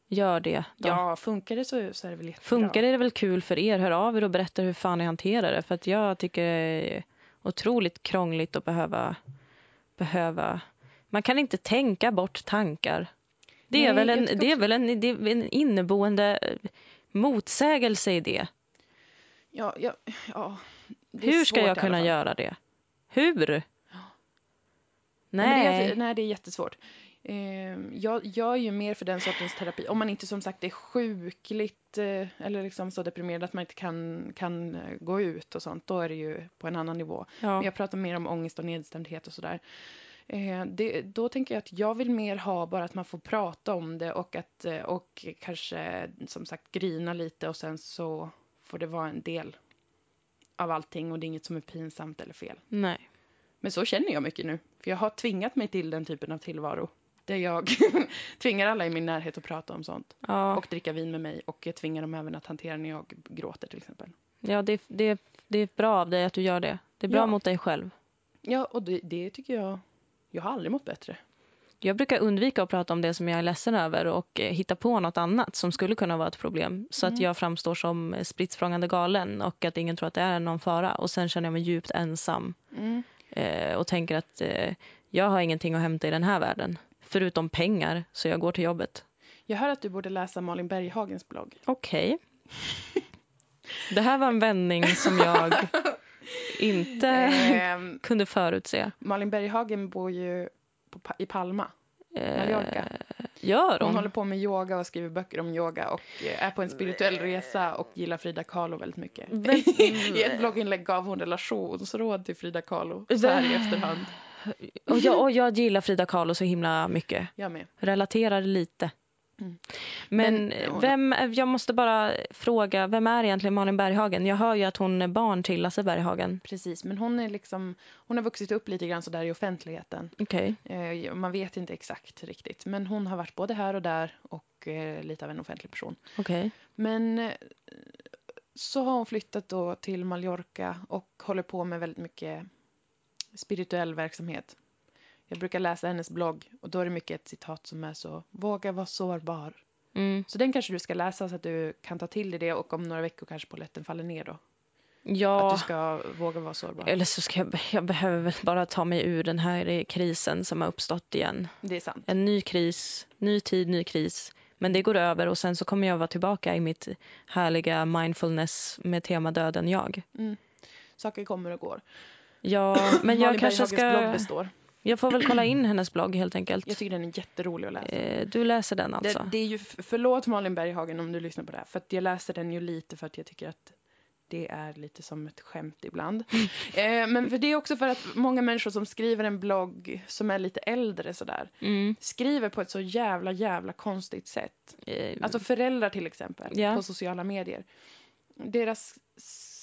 Speaker 2: gör det. Då.
Speaker 1: Ja, funkar det så, så är det väl jättebra.
Speaker 2: Funkar det är det väl kul för er? Hör av er och berätta hur fan ni hanterar det. För att jag tycker det är otroligt krångligt att behöva, behöva... Man kan inte tänka bort tankar. Det är,
Speaker 1: Nej,
Speaker 2: väl,
Speaker 1: jag
Speaker 2: en,
Speaker 1: tycker
Speaker 2: det är
Speaker 1: också-
Speaker 2: väl en, det är en inneboende eh, motsägelse i det.
Speaker 1: Ja, ja, ja. Det är
Speaker 2: Hur ska
Speaker 1: svårt i
Speaker 2: jag
Speaker 1: alla
Speaker 2: kunna
Speaker 1: fall.
Speaker 2: göra det? Hur?
Speaker 1: Nej. Men det är,
Speaker 2: Nej.
Speaker 1: nej, det är jättesvårt. Ehm, jag, jag är ju mer för den sortens terapi. Om man inte som sagt är sjukligt eh, eller liksom så deprimerad att man inte kan, kan eh, gå ut och sånt, då är det ju på en annan nivå. Men
Speaker 2: Ja.
Speaker 1: jag pratar mer om ångest och nedstämdhet och sådär. Eh, det, då tänker jag att jag vill mer ha bara att man får prata om det och, att, eh, och kanske som sagt grina lite och sen så får det vara en del av allting och det är inget som är pinsamt eller fel.
Speaker 2: Nej.
Speaker 1: Men så känner jag mycket nu, för jag har tvingat mig till den typen av tillvaro där jag [laughs] tvingar alla i min närhet att prata om sånt
Speaker 2: Ja.
Speaker 1: och dricka vin med mig och jag tvingar dem även att hantera när jag gråter till exempel.
Speaker 2: Ja, det, det, det är bra av dig att du gör det. Det är bra
Speaker 1: Ja.
Speaker 2: mot dig själv.
Speaker 1: Ja, och det, det tycker jag, jag har aldrig mått bättre.
Speaker 2: Jag brukar undvika att prata om det som jag är ledsen över och eh, hitta på något annat som skulle kunna vara ett problem. Så att
Speaker 1: Mm.
Speaker 2: jag framstår som eh, spritt språngande galen och att ingen tror att det är någon fara. Och sen känner jag mig djupt ensam eh, och tänker att eh, jag har ingenting att hämta i den här världen. Förutom pengar, så jag går till jobbet.
Speaker 1: Jag hör att du borde läsa Malin [laughs] Berghagens blogg. [laughs]
Speaker 2: Okej. Det här var en vändning som jag inte
Speaker 1: Ehm,
Speaker 2: kunde förutse.
Speaker 1: Malin Berghagen bor ju på, Pa- i Palma,
Speaker 2: Eh.
Speaker 1: Mallorca.
Speaker 2: Gör
Speaker 1: Hon
Speaker 2: hon?
Speaker 1: håller på med yoga och skriver böcker om yoga och eh, är på en spirituell resa och gillar Frida Kahlo väldigt mycket.
Speaker 2: Men-
Speaker 1: [laughs] I ett blogginlägg gav hon relationsråd till Frida Kahlo, så här i efterhand.
Speaker 2: Och jag, och jag gillar Frida Kahlo så himla mycket.
Speaker 1: Jag med. Relaterar
Speaker 2: Relaterar lite.
Speaker 1: Mm.
Speaker 2: Men
Speaker 1: Men, eh, ja.
Speaker 2: vem, eh, jag måste bara fråga, vem är egentligen Malin Berghagen? Jag hör ju att hon är barn till Lasse Berghagen.
Speaker 1: Precis, men hon är liksom, hon har vuxit upp lite grann sådär i offentligheten.
Speaker 2: Okej.
Speaker 1: Eh, man vet inte exakt riktigt, men hon har varit både här och där och eh, lite av en offentlig person.
Speaker 2: Okej.
Speaker 1: Men eh, så har hon flyttat då till Mallorca och håller på med väldigt mycket spirituell verksamhet. Jag brukar läsa hennes blogg och då är det mycket ett citat som är så våga vara sårbar.
Speaker 2: Mm.
Speaker 1: Så den kanske du ska läsa så att du kan ta till dig det och om några veckor kanske polletten faller ner då. Att
Speaker 2: Ja,
Speaker 1: du ska våga vara sårbar.
Speaker 2: eller så ska jag, jag behöver väl bara ta mig ur den här eh, krisen som har uppstått igen.
Speaker 1: Det är sant.
Speaker 2: En ny kris, ny tid, ny kris. Men det går över och sen så kommer jag vara tillbaka i mitt härliga mindfulness med tema döden jag.
Speaker 1: Mm. Saker kommer och går. [coughs]
Speaker 2: Ja, men jag
Speaker 1: Malin
Speaker 2: kanske
Speaker 1: Berghagens blogg
Speaker 2: ska...
Speaker 1: består.
Speaker 2: Jag får väl kolla in hennes blogg helt enkelt.
Speaker 1: Jag tycker den är jätterolig att läsa.
Speaker 2: Eh, Du läser den alltså?
Speaker 1: Det, det är ju, f- förlåt Malin Berghagen om du lyssnar på det här, för att jag läser den ju lite för att jag tycker att det är lite som ett skämt ibland. [laughs] eh, men för det är också för att många människor som skriver en blogg som är lite äldre sådär,
Speaker 2: Mm.
Speaker 1: skriver på ett så jävla, jävla konstigt sätt.
Speaker 2: Eh,
Speaker 1: Alltså föräldrar till exempel,
Speaker 2: Ja.
Speaker 1: på sociala medier. Deras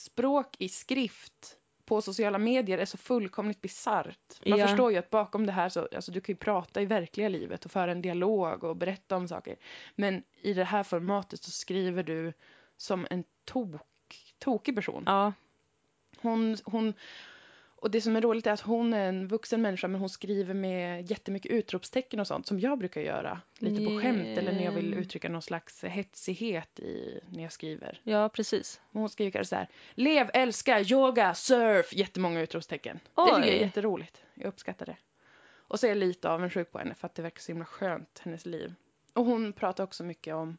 Speaker 1: språk i skrift på sociala medier är så fullkomligt bisarrt. Man
Speaker 2: Ja.
Speaker 1: förstår ju att bakom det här så, alltså du kan ju prata i verkliga livet och föra en dialog och berätta om saker. Men i det här formatet så skriver du som en tok, tokig person.
Speaker 2: Ja,
Speaker 1: Hon, hon, och det som är roligt är att hon är en vuxen människa men hon skriver med jättemycket utropstecken och sånt som jag brukar göra. Lite på skämt eller när jag vill
Speaker 2: Mm.
Speaker 1: uttrycka någon slags hetsighet i, när jag skriver.
Speaker 2: ja precis.
Speaker 1: Men Hon skriver kanske så här. Lev, älska, yoga, surf! Jättemånga utropstecken. Det tycker jag är
Speaker 2: Oj.
Speaker 1: jätteroligt. Jag uppskattar det. Och så är jag lite avundsjuk på henne för att det verkar så himla skönt, hennes liv. Och hon pratar också mycket om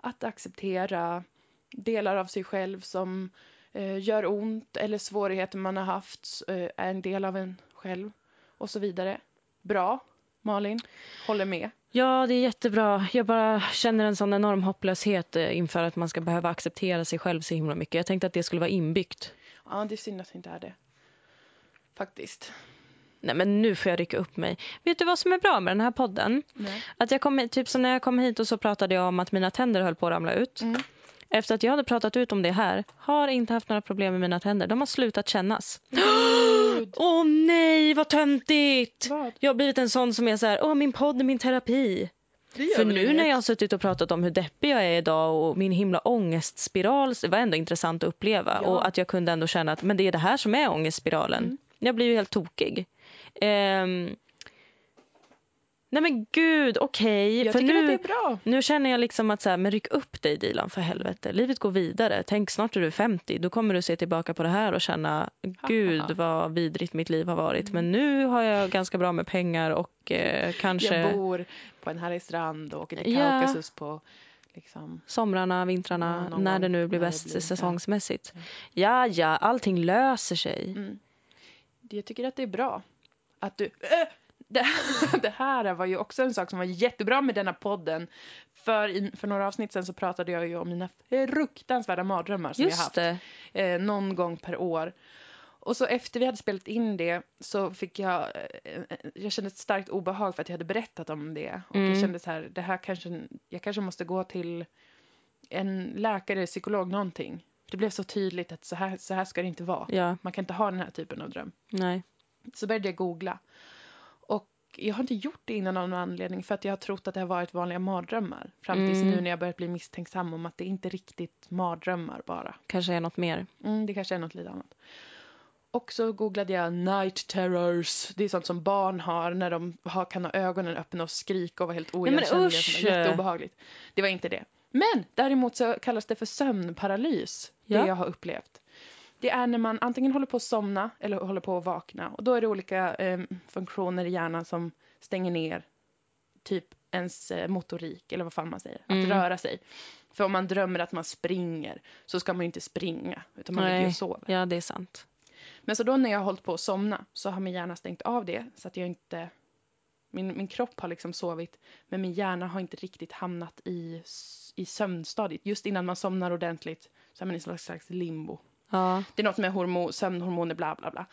Speaker 1: att acceptera delar av sig själv som eh, gör ont eller svårigheter man har haft eh, är en del av en själv och så vidare. Bra, Malin. Håller med.
Speaker 2: Ja, det är jättebra. Jag bara känner en sån enorm hopplöshet eh, inför att man ska behöva acceptera sig själv så himla mycket. Jag tänkte att det skulle vara inbyggt.
Speaker 1: Ja, det är synd att det inte är det. Faktiskt.
Speaker 2: Nej, men nu får jag rycka upp mig. Vet du vad som är bra med den här podden?
Speaker 1: Nej.
Speaker 2: Att jag kom, hit- typ som när jag kom hit och så pratade jag om att mina tänder höll på att ramla ut.
Speaker 1: Mm.
Speaker 2: Efter att jag hade pratat ut om det här har inte haft några problem med mina tänder. De har slutat kännas. [gasps]
Speaker 1: Gud,
Speaker 2: Åh nej, vad töntigt!
Speaker 1: vad?
Speaker 2: Jag har blivit en sån som är så här, åh min podd är min terapi.
Speaker 1: Det gör
Speaker 2: För
Speaker 1: väl
Speaker 2: nu
Speaker 1: inget.
Speaker 2: när jag har suttit och pratat om hur deppig jag är idag och min himla ångestspiral, så det var ändå intressant att uppleva.
Speaker 1: Ja. Mm.
Speaker 2: Och att jag kunde ändå känna att men det är det här som är ångestspiralen. Jag blir ju helt tokig. Ehm, nej men gud, okej.
Speaker 1: Jag
Speaker 2: För
Speaker 1: tycker
Speaker 2: nu,
Speaker 1: att det är bra.
Speaker 2: nu känner jag liksom att så här, men ryck upp dig Dilan för helvete. Livet går vidare. Tänk snart är du 50. Då kommer du se tillbaka på det här och känna gud vad vidrigt mitt liv har varit. Men nu har jag ganska bra med pengar och eh,
Speaker 1: Mm. Jag
Speaker 2: kanske
Speaker 1: bor på en härlig strand och åker till
Speaker 2: Ja.
Speaker 1: Kaukasus på liksom.
Speaker 2: somrarna, vintrarna,
Speaker 1: Ja, någon
Speaker 2: när
Speaker 1: gång
Speaker 2: det nu blir
Speaker 1: när det
Speaker 2: bäst
Speaker 1: blir, ja.
Speaker 2: säsongsmässigt. Ja, ja, allting löser sig.
Speaker 1: Mm. Jag tycker att det är bra att du... Äh! Det, det här [laughs] var ju också en sak som var jättebra med denna podden. För, i, för några avsnitt sen så pratade jag ju om mina fruktansvärda mardrömmar som jag
Speaker 2: Just
Speaker 1: haft.
Speaker 2: det.
Speaker 1: eh, någon gång per år. Och så efter vi hade spelat in det så fick jag, eh, eh, jag kände ett starkt obehag för att jag hade berättat om det. Och jag
Speaker 2: Mm.
Speaker 1: kände så här, det här kanske, jag kanske måste gå till en läkare, psykolog, någonting. Det blev så tydligt att så här, så här ska det inte vara.
Speaker 2: Ja,
Speaker 1: Man kan inte ha den här typen av dröm.
Speaker 2: nej.
Speaker 1: Så började jag googla. Och jag har inte gjort det innan av någon anledning för att jag har trott att det har varit vanliga mardrömmar. Fram tills
Speaker 2: Mm.
Speaker 1: nu när jag börjat bli misstänksam om att det inte är riktigt mardrömmar bara.
Speaker 2: Kanske är något mer.
Speaker 1: Mm, det kanske är något lite annat. Och så googlade jag night terrors. Det är sånt som barn har när de har, kan ha ögonen öppna och skrika och vara helt
Speaker 2: men
Speaker 1: oigenkännliga.
Speaker 2: usch!
Speaker 1: sådär Jätteobehagligt. Det var inte det. Men däremot så kallas det för sömnparalys,
Speaker 2: Ja.
Speaker 1: det jag har upplevt. Det är när man antingen håller på att somna eller håller på att vakna. Och då är det olika eh, funktioner i hjärnan som stänger ner typ ens eh, motorik, eller vad fan man säger, att
Speaker 2: Mm.
Speaker 1: röra sig. För om man drömmer att man springer så ska man ju inte springa, utan man ligger
Speaker 2: Nej.
Speaker 1: och sover.
Speaker 2: Ja, det är sant.
Speaker 1: Men så då när jag har hållit på att somna så har min hjärna stängt av det så att jag inte... Min, min kropp har liksom sovit men min hjärna har inte riktigt hamnat i, s- i sömnstadiet. Just innan man somnar ordentligt så är man i slags, slags limbo.
Speaker 2: Ja.
Speaker 1: Det är något med hormo, sömnhormoner, bla bla bla.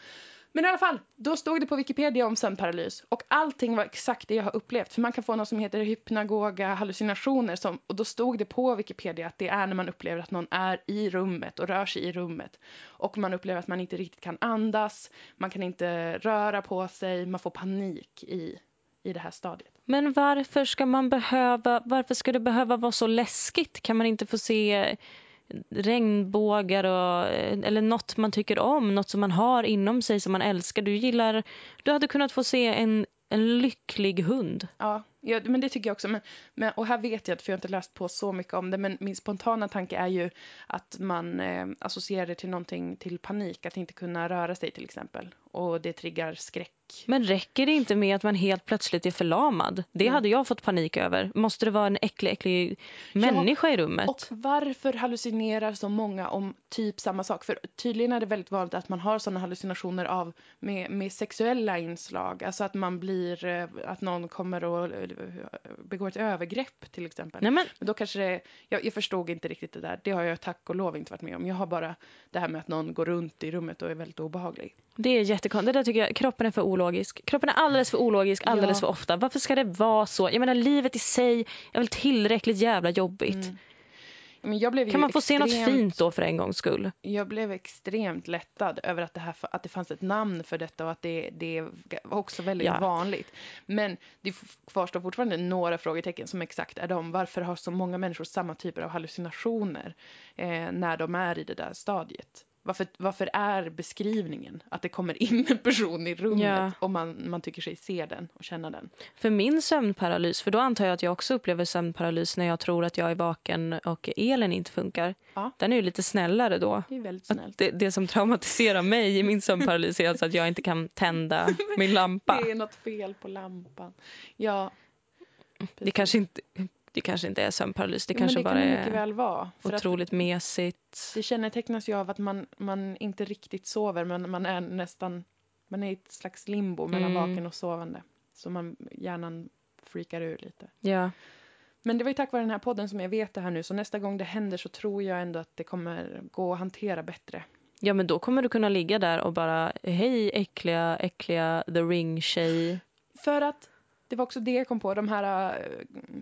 Speaker 1: Men i alla fall, då stod det på Wikipedia om sömnparalys och allting var exakt det jag har upplevt. För man kan få något som heter hypnagoga hallucinationer som, och då stod det på Wikipedia att det är när man upplever att någon är i rummet och rör sig i rummet. Och man upplever att man inte riktigt kan andas, man kan inte röra på sig, man får panik i, i det här stadiet.
Speaker 2: Men varför ska man behöva, varför ska det behöva vara så läskigt? Kan man inte få se regnbågar och, eller något man tycker om, något som man har inom sig som man älskar? Du gillar, du hade kunnat få se en, en lycklig hund.
Speaker 1: Ja, ja, men det tycker jag också. Men, men, och här vet jag inte, för jag har inte läst på så mycket om det, men min spontana tanke är ju att man eh, associerar det till någonting, till panik, att inte kunna röra sig till exempel. Och det triggar skräck.
Speaker 2: Men räcker det inte med att man helt plötsligt är förlamad? Det hade jag fått panik över. Måste det vara en äcklig, äcklig människa i rummet?
Speaker 1: Och varför hallucinerar så många om typ samma sak? För tydligen är det väldigt vanligt att man har sådana hallucinationer av med, med sexuella inslag, alltså att man blir, eh, att någon kommer och eh, begår ett övergrepp till exempel.
Speaker 2: Nej, men,
Speaker 1: Men då kanske det, jag, jag förstod inte riktigt det där. Det har jag tack och lov inte varit med om. Jag har bara det här med att någon går runt i rummet och är väldigt obehaglig.
Speaker 2: Det är jättekonstigt. Det där tycker jag, kroppen är för ologisk. Kroppen är alldeles för ologisk alldeles
Speaker 1: Ja.
Speaker 2: för ofta. Varför ska det vara så? Jag menar livet i sig är väl tillräckligt jävla jobbigt.
Speaker 1: Men jag blev ju
Speaker 2: Kan man få se något
Speaker 1: Mm, extremt-
Speaker 2: fint då för en gångs skull?
Speaker 1: Jag blev extremt lättad över att det, här, att det fanns ett namn för detta och att det, det var också väldigt
Speaker 2: Ja.
Speaker 1: vanligt. Men det f- kvarstår fortfarande några frågetecken som exakt är de. Varför har så många människor samma typer av hallucinationer eh, när de är i det där stadiet? Varför, varför är beskrivningen att det kommer in en person i rummet
Speaker 2: Ja.
Speaker 1: och man, man tycker sig se den och känna den?
Speaker 2: För min sömnparalys, för då antar jag att jag också upplever sömnparalys när jag tror att jag är vaken och elen inte funkar.
Speaker 1: Ja.
Speaker 2: Den är ju lite snällare då.
Speaker 1: Det är väldigt
Speaker 2: Att
Speaker 1: snällt.
Speaker 2: Det, det som traumatiserar mig i min sömnparalys är alltså att jag inte kan
Speaker 1: [laughs]
Speaker 2: tända min lampa.
Speaker 1: Det är något fel på lampan. Ja.
Speaker 2: Det kanske inte, det kanske inte är sömnparalys, det
Speaker 1: Jo, men
Speaker 2: kanske
Speaker 1: det
Speaker 2: bara
Speaker 1: kan det mycket
Speaker 2: är
Speaker 1: väl vara. För att
Speaker 2: otroligt mesigt.
Speaker 1: Det kännetecknas ju av att man, man inte riktigt sover men man är nästan man är i ett slags limbo mellan
Speaker 2: Mm.
Speaker 1: vaken och sovande. Så man, hjärnan freakar ur lite.
Speaker 2: Ja.
Speaker 1: Men det var ju tack vare den här podden som jag vet det här nu så nästa gång det händer så tror jag ändå att det kommer gå att hantera bättre.
Speaker 2: Ja, men då kommer du kunna ligga där och bara hej äckliga, äckliga the ring-tjej.
Speaker 1: För att det var också det jag kom på, de här äh,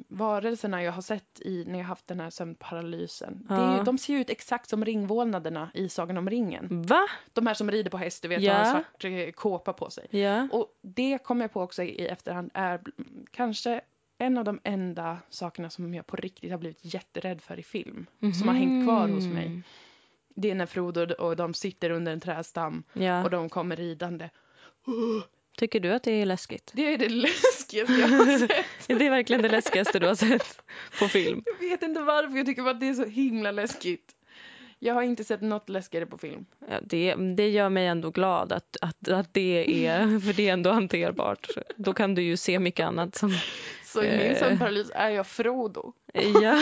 Speaker 1: varelserna jag har sett i, när jag haft den här sömnparalysen. Det är ju,
Speaker 2: Ja.
Speaker 1: de ser ju ut exakt som ringvålnaderna i Sagan om ringen.
Speaker 2: Va?
Speaker 1: De här som rider på häst, du vet,
Speaker 2: Ja.
Speaker 1: och har en svart eh, kåpa på sig.
Speaker 2: Ja.
Speaker 1: Och det kom jag på också i efterhand är bl- kanske en av de enda sakerna som jag på riktigt har blivit jätterädd för i film. Som har hängt kvar hos
Speaker 2: Mm.
Speaker 1: mig. Det är när Frodo och de sitter under en trädstam
Speaker 2: Ja.
Speaker 1: och de kommer ridande.
Speaker 2: Tycker du att det är
Speaker 1: [laughs]
Speaker 2: läskigt?
Speaker 1: Det är det läskigaste jag har sett.
Speaker 2: Det är verkligen det läskigaste du har sett på film.
Speaker 1: Jag vet inte varför, jag tycker bara att det är så himla läskigt. Jag har inte sett något läskigare på film.
Speaker 2: Ja, det, det gör mig ändå glad att, att, att det är, [laughs] för det är ändå hanterbart. Då kan du ju se mycket annat
Speaker 1: [laughs]
Speaker 2: som...
Speaker 1: Så i min
Speaker 2: Eh.
Speaker 1: sömnparalys är jag Frodo.
Speaker 2: Ja.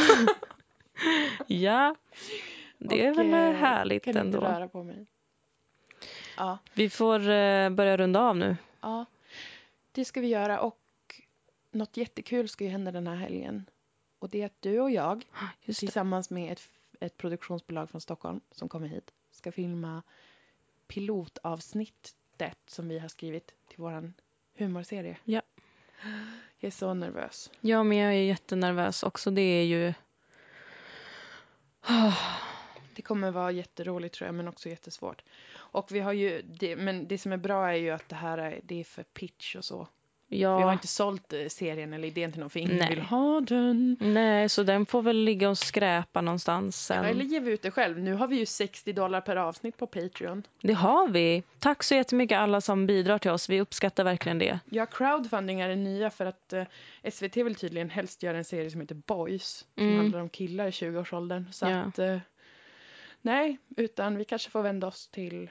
Speaker 2: Ja. Det är
Speaker 1: Och,
Speaker 2: väl
Speaker 1: eh,
Speaker 2: härligt
Speaker 1: kan
Speaker 2: ändå.
Speaker 1: inte röra på mig. Ja.
Speaker 2: Vi får eh, börja runda av nu.
Speaker 1: Ja, det ska vi göra och något jättekul ska ju hända den här helgen. Och det är att du och jag
Speaker 2: Just det.
Speaker 1: tillsammans med ett, ett produktionsbolag från Stockholm som kommer hit ska filma pilotavsnittet som vi har skrivit till våran humorserie.
Speaker 2: Ja.
Speaker 1: Jag är så nervös.
Speaker 2: Ja, men jag är jättenervös också. Det är ju...
Speaker 1: Det kommer vara jätteroligt tror jag, men också jättesvårt. Och vi har ju, det, men det som är bra är ju att det här är, det är för pitch och så. För jag har
Speaker 2: Ja.
Speaker 1: inte sålt eh, serien eller idén till någon, för ingen
Speaker 2: Nej.
Speaker 1: vill ha den.
Speaker 2: Nej, så den får väl ligga och skräpa någonstans sen.
Speaker 1: Ja, eller ge ut det själv. Nu har vi ju 60 dollar per avsnitt på Patreon.
Speaker 2: Det har vi. Tack så jättemycket alla som bidrar till oss. Vi uppskattar verkligen det.
Speaker 1: Ja, crowdfunding är det nya för att eh, SVT vill tydligen helst göra en serie som heter Boys. Som
Speaker 2: Mm.
Speaker 1: handlar om killar i 20-årsåldern. Så
Speaker 2: Ja.
Speaker 1: att, eh, nej, utan vi kanske får vända oss till...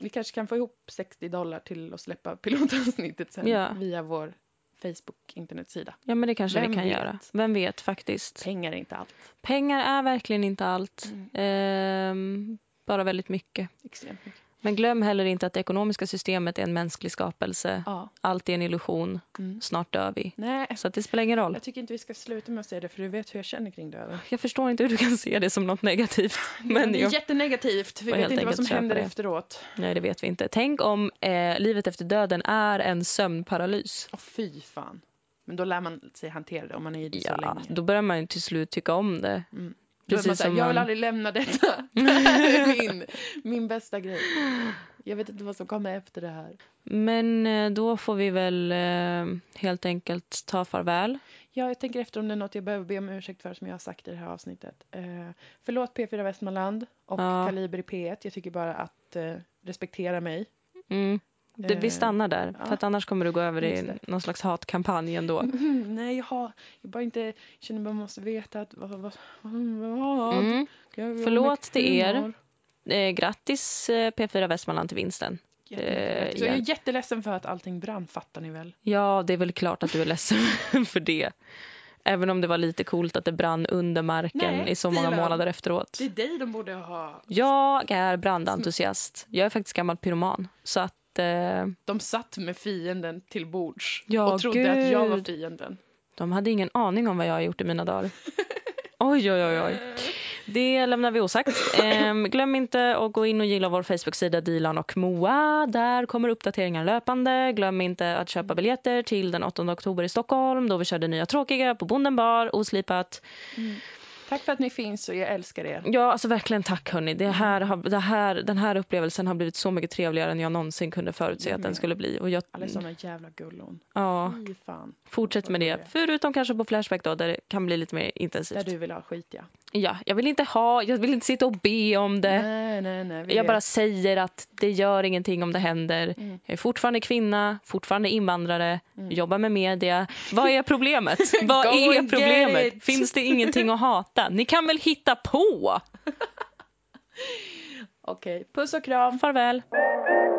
Speaker 1: Vi kanske kan få ihop 60 dollar till att släppa pilotavsnittet sen
Speaker 2: Ja.
Speaker 1: via vår Facebook-internetsida.
Speaker 2: Ja, men det kanske
Speaker 1: Vem
Speaker 2: vi kan
Speaker 1: vet?
Speaker 2: göra. Vem vet faktiskt.
Speaker 1: Pengar är inte allt.
Speaker 2: Pengar är verkligen inte allt.
Speaker 1: Mm.
Speaker 2: Ehm, bara väldigt mycket.
Speaker 1: Extremt mycket.
Speaker 2: Men glöm heller inte att det ekonomiska systemet är en mänsklig skapelse.
Speaker 1: Ja.
Speaker 2: Allt är en illusion.
Speaker 1: Mm.
Speaker 2: Snart dör vi.
Speaker 1: Nej,
Speaker 2: Så att det spelar ingen roll.
Speaker 1: jag tycker inte vi ska sluta med att säga det för du vet hur jag känner kring döden.
Speaker 2: Jag förstår inte hur du kan se det som något negativt. Men
Speaker 1: det är
Speaker 2: jag,
Speaker 1: jättenegativt. Vi
Speaker 2: får
Speaker 1: vet
Speaker 2: helt
Speaker 1: inte vad
Speaker 2: enkelt
Speaker 1: som händer
Speaker 2: köpa det.
Speaker 1: efteråt.
Speaker 2: nej, det vet vi inte. Tänk om eh, livet efter döden är en sömnparalys.
Speaker 1: Åh fy fan. Men då lär man sig hantera det om man är i det så
Speaker 2: Ja,
Speaker 1: länge.
Speaker 2: då börjar man ju till slut tycka om det.
Speaker 1: Mm. Då är man
Speaker 2: Precis
Speaker 1: såhär,
Speaker 2: som
Speaker 1: jag vill
Speaker 2: man...
Speaker 1: aldrig lämna
Speaker 2: [laughs]
Speaker 1: detta. det här är min, min bästa grej. Jag vet inte vad som kommer efter det här.
Speaker 2: Men eh, då får vi väl eh, helt enkelt ta farväl.
Speaker 1: Ja, jag tänker efter om det är något jag behöver be om ursäkt för som jag har sagt i det här avsnittet. Eh, förlåt P4 Västmanland och
Speaker 2: Ja.
Speaker 1: Kaliber i P1. Jag tycker bara att eh, respektera mig.
Speaker 2: Mm. Det, vi
Speaker 1: Eh,
Speaker 2: stannar där,
Speaker 1: ja.
Speaker 2: för att annars kommer du gå över
Speaker 1: Just
Speaker 2: i
Speaker 1: det.
Speaker 2: någon slags hatkampanj ändå.
Speaker 1: Nej, jag, har, jag bara inte jag känner man måste veta att vad, vad, vad,
Speaker 2: Mm.
Speaker 1: jag vill
Speaker 2: Förlåt
Speaker 1: ha mycket
Speaker 2: till er.
Speaker 1: humor.
Speaker 2: Eh, grattis eh, P4 Västmanland till vinsten.
Speaker 1: Jättemycket.
Speaker 2: Eh,
Speaker 1: Så jag
Speaker 2: igen.
Speaker 1: är jätteledsen för att allting brann, fattar ni väl?
Speaker 2: Ja, det är väl klart att du är ledsen [laughs] för det. Även om det var lite coolt att det brann under marken
Speaker 1: Nej,
Speaker 2: i så många
Speaker 1: Dilan.
Speaker 2: månader efteråt.
Speaker 1: Det är dig de borde ha.
Speaker 2: Jag är brandentusiast. Jag är faktiskt gammal pyroman. Så att eh,
Speaker 1: De satt med fienden till bords
Speaker 2: Ja,
Speaker 1: och trodde att jag var
Speaker 2: gud.
Speaker 1: fienden.
Speaker 2: de hade ingen aning om vad jag har gjort i mina dagar. Oj, oj, oj. oj. Det lämnar vi osagt. Ehm, glöm inte att gå in och gilla vår Facebook-sida Dilan och Moa. Där kommer uppdateringar löpande. Glöm inte att köpa biljetter till den 8 oktober i Stockholm då vi kör det nya tråkiga på Bonden bar, oslipat.
Speaker 1: Mm. Tack för att ni finns och jag älskar er.
Speaker 2: Ja, alltså verkligen tack hörni. Det här har, det här, den här upplevelsen har blivit så mycket trevligare än jag någonsin kunde förutse att den skulle bli. Och jag,
Speaker 1: Alla är såna jävla gullon.
Speaker 2: ja,
Speaker 1: Fy fan.
Speaker 2: fortsätt med det. Förutom kanske på Flashback då, där det kan bli lite mer
Speaker 1: Där
Speaker 2: intensivt.
Speaker 1: du vill ha skit, ja.
Speaker 2: Ja, jag vill inte ha, jag vill inte sitta och be om det.
Speaker 1: Nej, nej, nej. vi
Speaker 2: Jag
Speaker 1: vet.
Speaker 2: bara säger att det gör ingenting om det händer.
Speaker 1: Mm.
Speaker 2: Jag är fortfarande kvinna, fortfarande invandrare, jobbar med media. Vad är
Speaker 1: [laughs]
Speaker 2: problemet? Vad
Speaker 1: Go and
Speaker 2: är
Speaker 1: get
Speaker 2: problemet?
Speaker 1: it.
Speaker 2: Finns det ingenting att hata? Ni kan väl hitta på?
Speaker 1: Okej, puss och kram.
Speaker 2: Farväl.